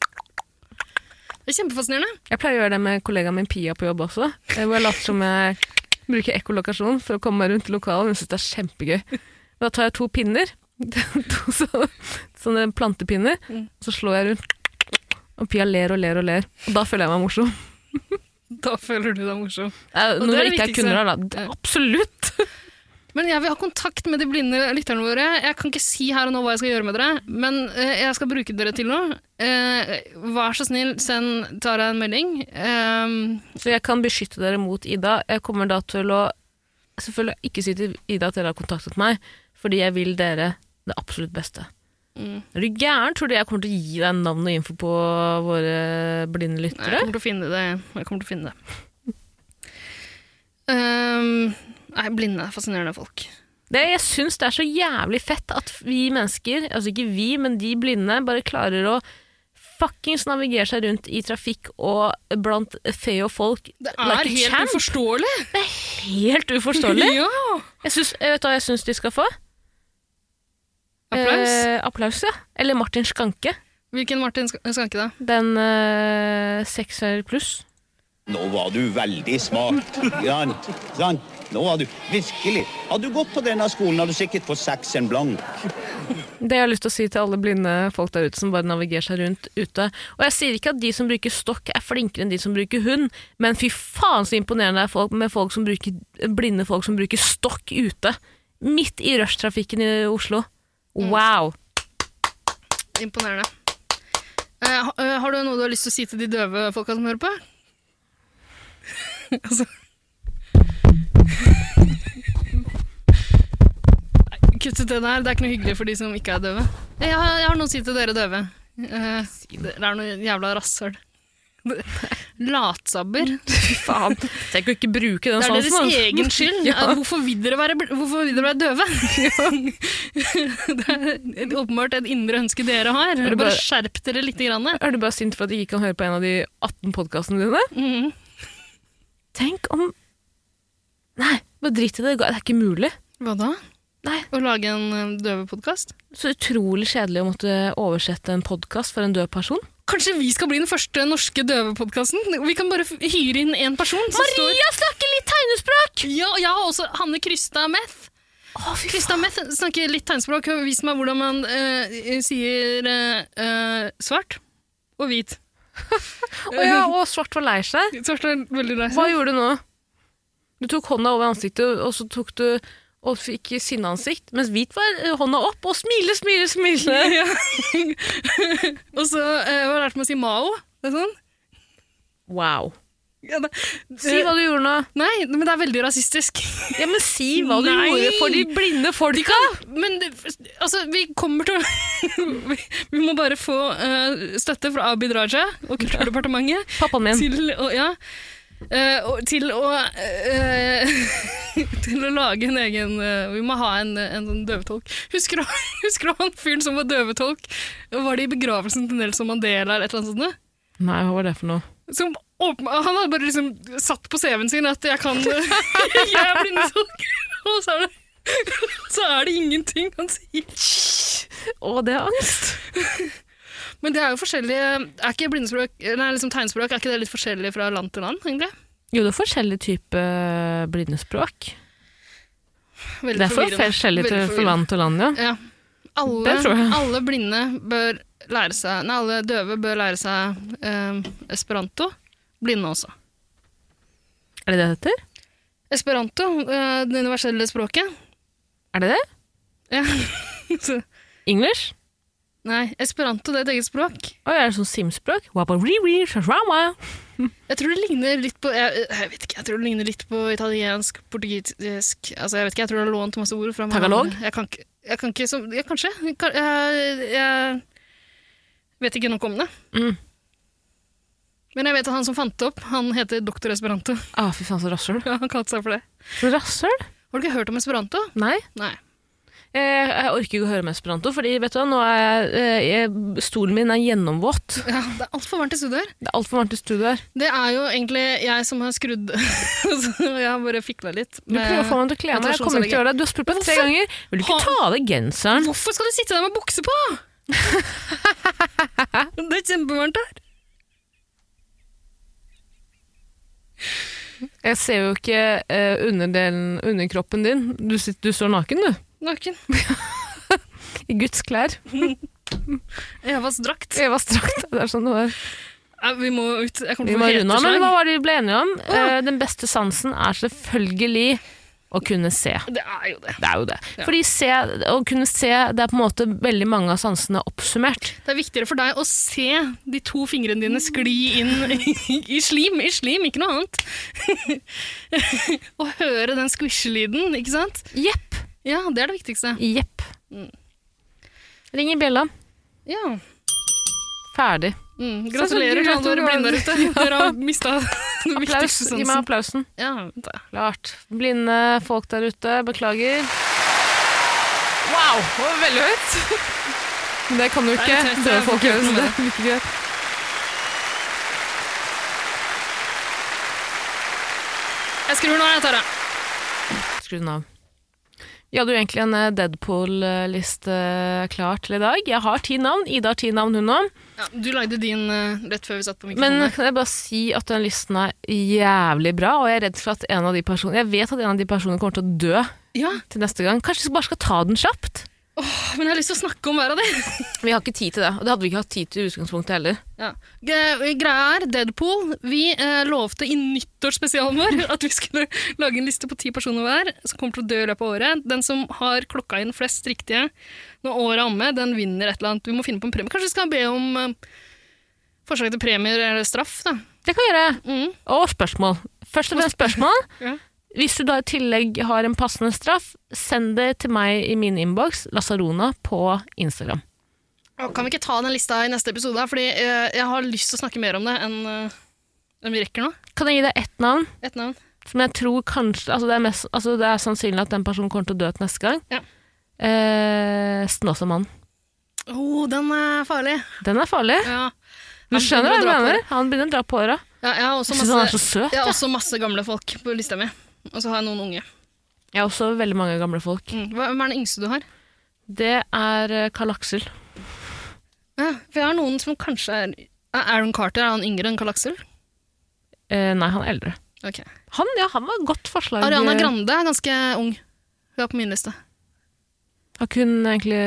B: Det er kjempefascinerende.
A: Jeg pleier å gjøre det med kollegaen min Pia på jobb også. eh, Hvor jeg later som jeg bruker ekkolokasjon for å komme meg rundt i lokalet. Hun syns det er kjempegøy. Da tar jeg to pinner, to så- sånne plantepinner,
B: Mm.
A: og så slår jeg rundt. Og Pia ler og ler og ler. Og da føler jeg meg morsom.
B: Da føler du deg morsom.
A: Eh, Når
B: det
A: det
B: er det
A: ikke er
B: viktigste.
A: kunder her, da. Det-
B: Ja.
A: Absolutt!
B: Men jeg vil ha kontakt med de blinde lytterne våre. Jeg kan ikke si her og nå hva jeg skal gjøre med dere, men eh, jeg skal bruke dere til noe. Eh, vær så snill, send Tara en melding. Eh,
A: Så jeg kan beskytte dere mot Ida. Jeg kommer da til å selvfølgelig ikke si til Ida at dere har kontaktet meg, fordi jeg vil dere det absolutt beste.
B: mm,
A: Er du gæren? Tror du jeg kommer til å gi deg navn og info på våre blinde
B: nei,
A: lyttere?
B: jeg kommer til å finne det. Jeg kommer til å finne det. Eh, nei, blinde er fascinerende folk.
A: Det, jeg syns det er så jævlig fett at vi mennesker, altså ikke vi, men de blinde, bare klarer å fuckings navigere seg rundt i trafikk og blant fe og folk.
B: Det er
A: Like a
B: helt
A: champ.
B: uforståelig.
A: Helt uforståelig.
B: Ja.
A: Jeg syns- jeg vet du hva jeg syns de skal få?
B: Applaus.
A: Eh, applaus, ja. Eller Martin Skanke.
B: Hvilken Martin Sk- Skanke, da?
A: Den eh, sekser pluss.
D: Nå var du veldig smart. Ja, sant? Nå har du virkelig Har du gått på denne skolen, har du sikkert fått saksen blank.
A: Det jeg har lyst til å si til alle blinde folk der ute som bare navigerer seg rundt ute. Og jeg sier ikke at de som bruker stokk er flinkere enn de som bruker hund, men fy faen så imponerende det er folk med folk som bruker, blinde folk som bruker stokk ute. Midt i rushtrafikken i Oslo.
B: Mm.
A: Wow!
B: Imponerende. Eh, ha- eh, har du noe du har lyst til å si til de døve folka som hører på? altså Nei, Kutt ut den her. Det er ikke noe hyggelig for de som ikke er døve. Jeg har, jeg har noe å si til dere døve. Eh, dere er noe jævla rasshøl. Latsabber.
A: Fy faen. Tenk å ikke bruke den
B: Det er
A: sansen.
B: deres
A: altså.
B: egen skyld.
A: Ja.
B: Eh, Hvorfor vil dere være, bl- hvorfor vil dere være døve? det er et- åpenbart et indre ønske dere har.
A: det
B: Bare
A: bare-
B: skjerp dere litt. Grann.
A: Er du bare sint for at de ikke kan høre på en av de 18 podkastene dine?
B: Mhm.
A: Tenk om Nei, bare drit i det. Det er ikke mulig.
B: Hva da?
A: Nei.
B: Å lage en eh, døvepodkast?
A: Så utrolig kjedelig å måtte oversette en podkast for en død person.
B: Kanskje vi skal bli den første norske døvepodkasten? Vi kan bare f- hyre inn én person. Som står...
A: snakker litt tegnespråk!
B: Ja, og jeg har også Hanne Krysta Meth.
A: Å, fy faen.
B: Krysta Meth snakker litt tegnspråk. Hun viser meg hvordan man eh, sier eh, eh, svart og hvit.
A: Å ja, og svart var lei seg.
B: Svart er veldig nice.
A: Hva gjorde du nå? Du tok hånda over ansiktet, og så tok du og fikk sinneansikt, mens hvit var eh, hånda opp og smile, smile, smile.
B: Ja. og så eh, har jeg lært meg å si Mao. Det er sånn.
A: Wow.
B: Ja, det,
A: Si hva du gjorde nå.
B: Nei, men det er veldig rasistisk.
A: Ja, men si hva du
B: Nei.
A: gjorde for de blinde folka!
B: Men det, altså, vi kommer til å vi, vi må bare få eh, støtte fra Abid Raja og Kulturdepartementet
A: Pappaen min.
B: til å, ja, eh, og, til, å eh, til å lage en egen eh, Vi må ha en, en sånn døvetolk. Husker du, husker du han fyren som var døvetolk? Var det i begravelsen til Nelson Mandela eller et eller annet sånt? noe?
A: Nei, hva var det for noe?
B: Som åpen, han hadde bare liksom satt på CV-en sin at jeg kan Jeg er blindetolk! Og så er, det, så er det ingenting han sier.
A: Å, det er angst.
B: Men det er jo forskjellige Er ikke blindespråk, nei, liksom tegnspråk er ikke det litt forskjellig fra land til land, egentlig?
A: Jo, det er forskjellig type eh, blindespråk.
B: Veldig
A: Det er for-
B: forvirrende.
A: forskjellig til,
B: Veldig
A: fra
B: forvirrende.
A: land til land, ja.
B: Ja. Alle,
A: Det tror jeg.
B: alle blinde bør lære seg Nei, alle døve bør lære seg eh, esperanto. Blinde også.
A: Er det det det heter?
B: Esperanto, eh, det universelle språket.
A: Er det det?
B: Ja. Så,
A: English?
B: nei, esperanto det er et eget språk.
A: Å, er det sånn simspråk? Wabariri, shashama.
B: Jeg tror det ligner litt på jeg, jeg vet ikke, jeg tror det ligner litt på italiensk, portugisisk altså Jeg vet ikke, jeg tror det har lånt masse ord fra meg.
A: Tagalog?
B: Jeg kan ikke, jeg kan ikke som, ja, Kanskje. Jeg, kan- jeg, jeg vet ikke nok om det.
A: Mm.
B: Men jeg vet at han som fant det opp, han heter doktor Esperanto.
A: Ah, fy faen, så rasshøl.
B: Ja, han kalte seg for det.
A: Så rasshøl?
B: Har du ikke hørt om Esperanto?
A: Nei.
B: Nei.
A: Jeg, Eh, jeg orker ikke å høre med esperanto, fordi vet du hva, nå er jeg, eh, jeg, stolen min er gjennomvåt.
B: Ja, det er altfor varmt i studio her.
A: Det er altfor varmt i studio her.
B: Det er jo egentlig jeg som har skrudd Så Jeg har bare fikla litt.
A: Du prøver å få meg til å kle meg, jeg kommer ikke til å gjøre det. Du har spurt meg tre
B: Hvorfor?
A: ganger. Vil du ikke ta av deg genseren?
B: Hvorfor skal du sitte der med bukse på? det er kjempevarmt her.
A: Jeg ser jo ikke eh, underdelen, underkroppen din. Du, sitter, du står naken, du.
B: Naken.
A: I Guds klær.
B: Evas drakt.
A: Evas drakt. Det er sånn det var.
B: Nei, vi må ut. Jeg kommer
A: Vi
B: til å
A: må
B: få
A: runde av, men hva
B: heteslag.
A: var det vi ble enige om? Eh, den beste sansen er selvfølgelig å kunne se.
B: Det er jo det.
A: Det er jo det. Fordi se, å kunne se, det er på en måte veldig mange av sansene oppsummert.
B: Det er viktigere for deg å se de to fingrene dine skli inn i, i slim. I slim, ikke noe annet. Å høre den skvisjelyden, ikke sant?
A: Jepp. Mm.
B: Ja, det er det viktigste.
A: Jepp. Ring i bjella.
B: Ja.
A: Ferdig.
B: Mm,
A: Sånn som du
B: gratulerer til alle
A: gratulerer.
B: dere blinde der ute. Dere har mista den
A: Applaus.
B: viktigste
A: Gi meg
B: sansen.
A: applausen.
B: Ja, vent da.
A: Klart. Blinde folk der ute, beklager. Wow, det var veldig høyt. Men det kan jo
B: Det
A: ikke
B: er litt høyt,
A: døde
B: jeg får
A: folk
B: ikke
A: gjøre, så det
B: gjort noe
A: er ikke greit.
B: Jeg skrur nå, jeg, Tara.
A: Skru den av. Jeg hadde jo egentlig en eh, Deadpool-liste klar til i dag. Jeg har ti navn. Ida har ti navn, hun òg.
B: Ja, du lagde din eh, rett før vi satt på mikrofonen.
A: Men kan jeg bare si at den listen er jævlig bra, og jeg er redd for at en av de personene Jeg vet at en av de personene kommer til å dø
B: ja,
A: til neste gang. Kanskje vi bare skal ta den kjapt?
B: men jeg har lyst til å snakke om hver av dem.
A: Vi har ikke tid til det, og det hadde vi ikke hatt tid til i utgangspunktet heller.
B: Ja. G- Greia er, Deadpool Vi eh, lovte i nyttårsspesialen vår at vi skulle lage en liste på ti personer hver som kommer til å dø i løpet av året. Den som har klokka inn flest riktige når året er omme, den vinner et eller annet. Vi må finne på en premie. Kanskje vi skal be om eh, forslag til premier eller straff, da.
A: Det kan vi gjøre.
B: Mm.
A: Og spørsmål. Først og fremst spørsmål.
B: Ja.
A: Hvis du da i tillegg har en passende straff, send det til meg i min innboks, Lasarona, på Instagram.
B: Og Kan vi ikke ta den lista i neste episode? da? Fordi eh, jeg har lyst til å snakke mer om det enn eh, enn vi rekker nå.
A: Kan jeg gi deg ett navn?
B: Et navn.
A: Som jeg tror kanskje altså det, er mest, altså det er sannsynlig at den personen kommer til å dø til neste gang.
B: Ja.
A: Eh, Snåsamannen.
B: Å, den er farlig.
A: Den er farlig.
B: Ja.
A: Du
B: Han
A: skjønner hva jeg
B: begynner å dra på
A: mener? Han begynner å dra på åra.
B: Ja, jeg har også
A: Jeg syns han er
B: masse,
A: så søt.
B: jeg har også masse gamle folk på lista mi. Og så har jeg noen unge.
A: Jeg har også veldig mange gamle folk.
B: Mm. Hva- Hvem er den yngste du har?
A: Det er eh, Karl Aksel.
B: Ja, for jeg har noen som kanskje er Ja, Aaron Carter, er han yngre enn Karl Aksel?
A: Eh, nei, han er eldre.
B: Ok.
A: Han, ja, han var et godt forslag.
B: Ariana Grande er ganske ung. Hun er på min liste.
A: Eh, Har ikke hun egentlig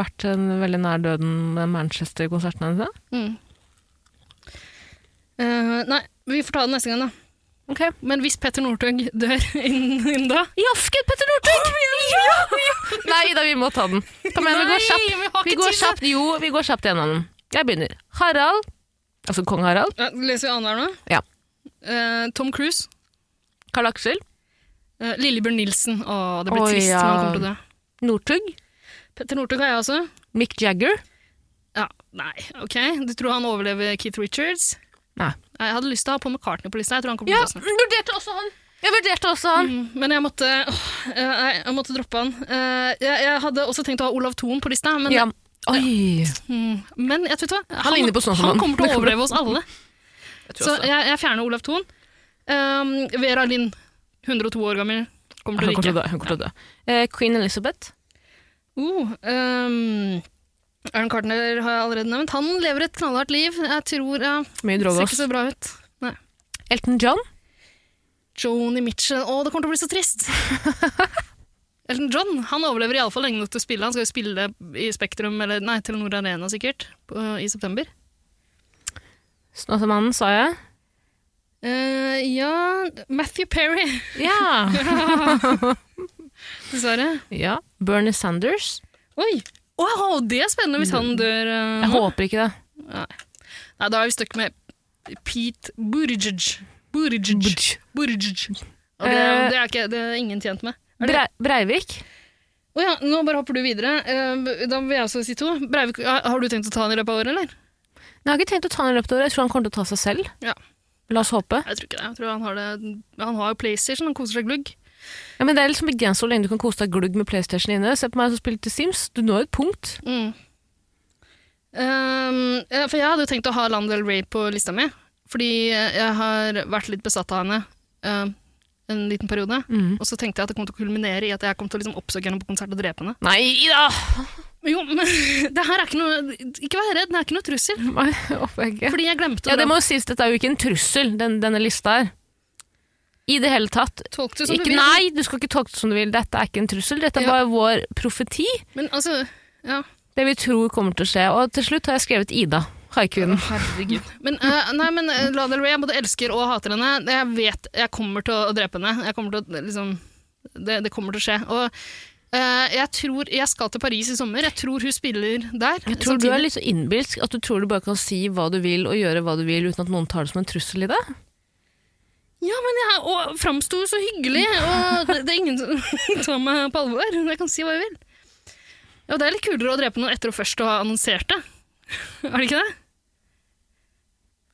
A: vært en veldig nær døden med Manchester-konserten hennes? da?
B: Mm. Eh, nei, vi får ta det neste gang, da.
A: Ok.
B: Men hvis Petter Northug dør innen, innen da
A: Jasken, Petter Northug! ja! Nei, Ida, vi må ta den. Kom igjen, vi går
B: Nei,
A: kjapt.
B: vi har
A: Vi
B: ikke
A: går
B: tid.
A: kjapt. Jo, vi går kjapt gjennom den. Jeg begynner. Harald. Altså kong Harald.
B: Ja, leser vi annenhver nå?
A: Ja.
B: Eh, Tom Cruise.
A: Karl Aksel.
B: Uh, Lillebjørn Nilsen. Å, det blir
A: Å,
B: trist
A: ja.
B: når han kommer til å dø.
A: Northug.
B: Petter Northug har jeg også.
A: Mick Jagger.
B: Ja, nei, ok. Du tror han overlever Keith Richards?
A: Nei.
B: Nei, Jeg hadde lyst til å ha på McCartney på lista. Jeg tror han kommer
A: Ja,
B: til å dø snart.
A: vurderte også han. Jeg vurderte også han.
B: Mm, Men jeg måtte, åh, eh, nei, jeg måtte droppe han. Eh, jeg, jeg hadde også tenkt å ha Olav Thon på lista, men,
A: Mm. Ja. Oi.
B: mm, men jeg vet du hva? Han,
A: ligner på sånn som
B: han
A: han.
B: kommer til
A: Det
B: å
A: kommer-
B: overleve oss alle. Så jeg, jeg fjerner Olav Thon. Um, Vera Lind, 102 år gammel, kommer
A: Hun
B: til å
A: kommer til å
B: ryke.
A: dø. Hun kommer til å dø. Eh, Queen Elizabeth.
B: Uh, um, Aaron Cartner har jeg allerede nevnt. Han lever et knallhardt liv. Jeg tror ja,
A: Mye
B: Ser
A: drogos.
B: ikke så bra ut. Nei.
A: Elton John.
B: Joni Mitchell Å, det kommer til å bli så trist! Elton John han overlever iallfall lenge nok til å spille. Han skal jo spille i Spektrum, eller nei, Telenor Arena sikkert, på, i september.
A: Snåsamannen, sa jeg.
B: Eh, ja Matthew Perry,
A: Ja.
B: dessverre.
A: ja. Bernie Sanders.
B: Oi! Wow, det er spennende hvis han dør eh,
A: Jeg
B: nå.
A: håper ikke det.
B: Nei, da er vi stuck med Pete Buttigieg. Buttigieg. Buttigieg. Og det,
A: Eh.
B: det, er ikke, det er ingen tjent med. Er det-
A: Brei Breivik.
B: Å ja, nå bare hopper du videre. Eh, da vil jeg også si to. Breivik, har du tenkt å ta han i løpet av året, eller?
A: Men Jeg har ikke tenkt å ta han i løpet av året. Jeg tror han kommer til å ta seg selv.
B: Ja.
A: La oss håpe.
B: Jeg tror ikke det. Jeg tror han har, det. Han har jo PlayStation, han koser seg glugg.
A: Ja, men det er liksom begrenset hvor lenge du kan kose deg glugg med PlayStation inne. Se på meg som spiller til Sims. Du når et punkt.
B: Mm. Ehm, ja, for jeg hadde jo tenkt å ha Lana Del Rey på lista mi, fordi jeg har vært litt besatt av henne ehm, en liten periode. Og så tenkte jeg at det kom til å kulminere i at jeg kom til å liksom oppsøke henne på konsert og drepe henne.
A: Nei, Ida!
B: Men jo, men det her er ikke noe Ikke vær redd, det er ikke noe trussel.
A: Nei, håper jeg ikke.
B: Fordi jeg glemte
A: Ja, det
B: dra-
A: må jo sies, dette er jo ikke en trussel, den, denne lista her. I det hele tatt.
B: Tolk det som
A: Ikke,
B: du vil.
A: nei, du skal ikke tolke det som du vil. Dette er ikke en trussel. Dette er
B: Ja.
A: bare vår profeti.
B: Men altså Ja.
A: Det vi tror kommer til å skje. Og til slutt har jeg skrevet Ida. Haikuen.
B: Herregud. Men, eh, nei, men eh, Lana Del Rey, jeg både elsker og hater henne. Jeg vet jeg kommer til å drepe henne. Jeg kommer til å, liksom, det, det kommer til å skje. Og eh, jeg tror Jeg skal til Paris i sommer. Jeg tror hun spiller der.
A: Jeg tror du er litt så innbilsk at du tror du bare kan si hva du vil og gjøre hva du vil uten at noen tar det som en trussel i det.
B: Ja, men jeg og framsto jo så hyggelig, og det, det er ingen som tar meg på alvor. Jeg kan si hva jeg vil. Ja, det er litt kulere å drepe noen etter å først å ha annonsert det. Er det ikke det?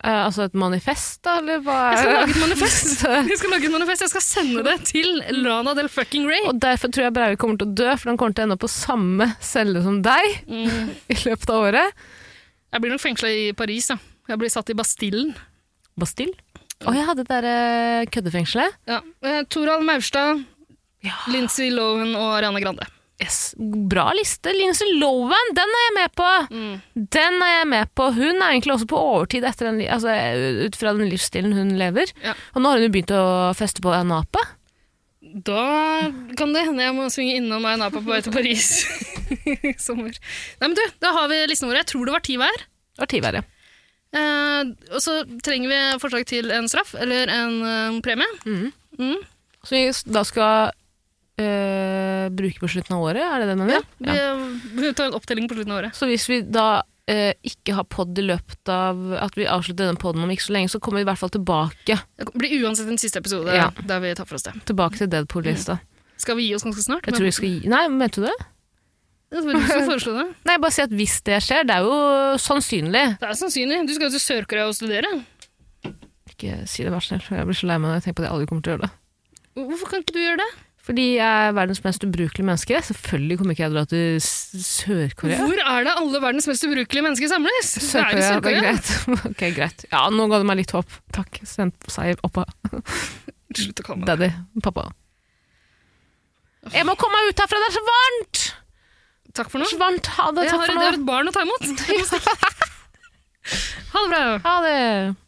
A: Eh, altså et manifest, da, eller hva
B: Jeg skal
A: er
B: lage et manifest. Jeg skal lage et manifest. Jeg skal sende det til Lana del fucking Rey.
A: Og derfor tror jeg Breivik kommer til å dø, for han kommer til å ende opp på samme celle som deg
B: Mm.
A: i løpet av året.
B: Jeg blir nok fengsla i Paris, ja. Jeg blir satt i Bastillen.
A: Bastille. Å, jeg hadde det derre eh, køddefengselet.
B: Ja. Eh, Torald Maurstad, Lindsay Lohan og Ariana Grande.
A: Yes. Bra liste. Lindsay Lohan, den er jeg med på! Den er jeg med på. Hun er egentlig også på overtid etter den, li- altså, ut fra den livsstilen hun lever.
B: Ja.
A: Og nå har hun jo begynt å feste på Anapa.
B: Da kan det hende jeg må svinge innom Ayanapa på vei til Paris i sommer. Nei, men du, da har vi listene våre. Jeg tror det var ti hver.
A: Det var ti verre.
B: Eh, og så trenger vi forslag til en straff eller en eh, premie. Mm.
A: Så vi s- da skal øh, bruke på slutten av året, er det det du mener?
B: Vi, eh, vi tar en opptelling på slutten av året.
A: Så hvis vi da øh, ikke har pod i løpet av at vi avslutter denne poden om ikke så lenge, så kommer vi i hvert fall tilbake,
B: Det blir uansett en siste episode
A: Ja.
B: der vi tar for oss det.
A: tilbake til Deadpool-lista.
B: Skal vi gi oss ganske snart?
A: Jeg tror vi skal gi Nei, mente du det?
B: Det var du som foreslo det.
A: Nei, bare si at hvis det skjer, det er jo sannsynlig.
B: Det er sannsynlig. Du skal jo til Sør-Korea og studere.
A: Ikke si det, vær så snill. for Jeg blir så lei meg når jeg tenker på at jeg aldri kommer til å gjøre det.
B: Hvorfor kan ikke du gjøre det?
A: Fordi jeg er verdens mest ubrukelige menneske. Selvfølgelig kommer ikke jeg til å dra til S- Sør-Korea.
B: Hvor er det alle verdens mest ubrukelige mennesker samles? Det er jo
A: Sør-Korea, det er
B: Sør-Korea.
A: greit. ok, greit. Ja, nå ga du meg litt håp. Takk. Send seier oppa.
B: Slutt å kalle meg det.
A: Daddy. Pappa. Jeg må komme meg ut herfra, det er så varmt!
B: Takk for
A: Det er
B: nå.
A: så varmt. Ha det.
B: Jeg
A: Takk
B: har,
A: for
B: jeg har
A: nå.
B: et barn å ta imot. ha det bra.
A: Ha det.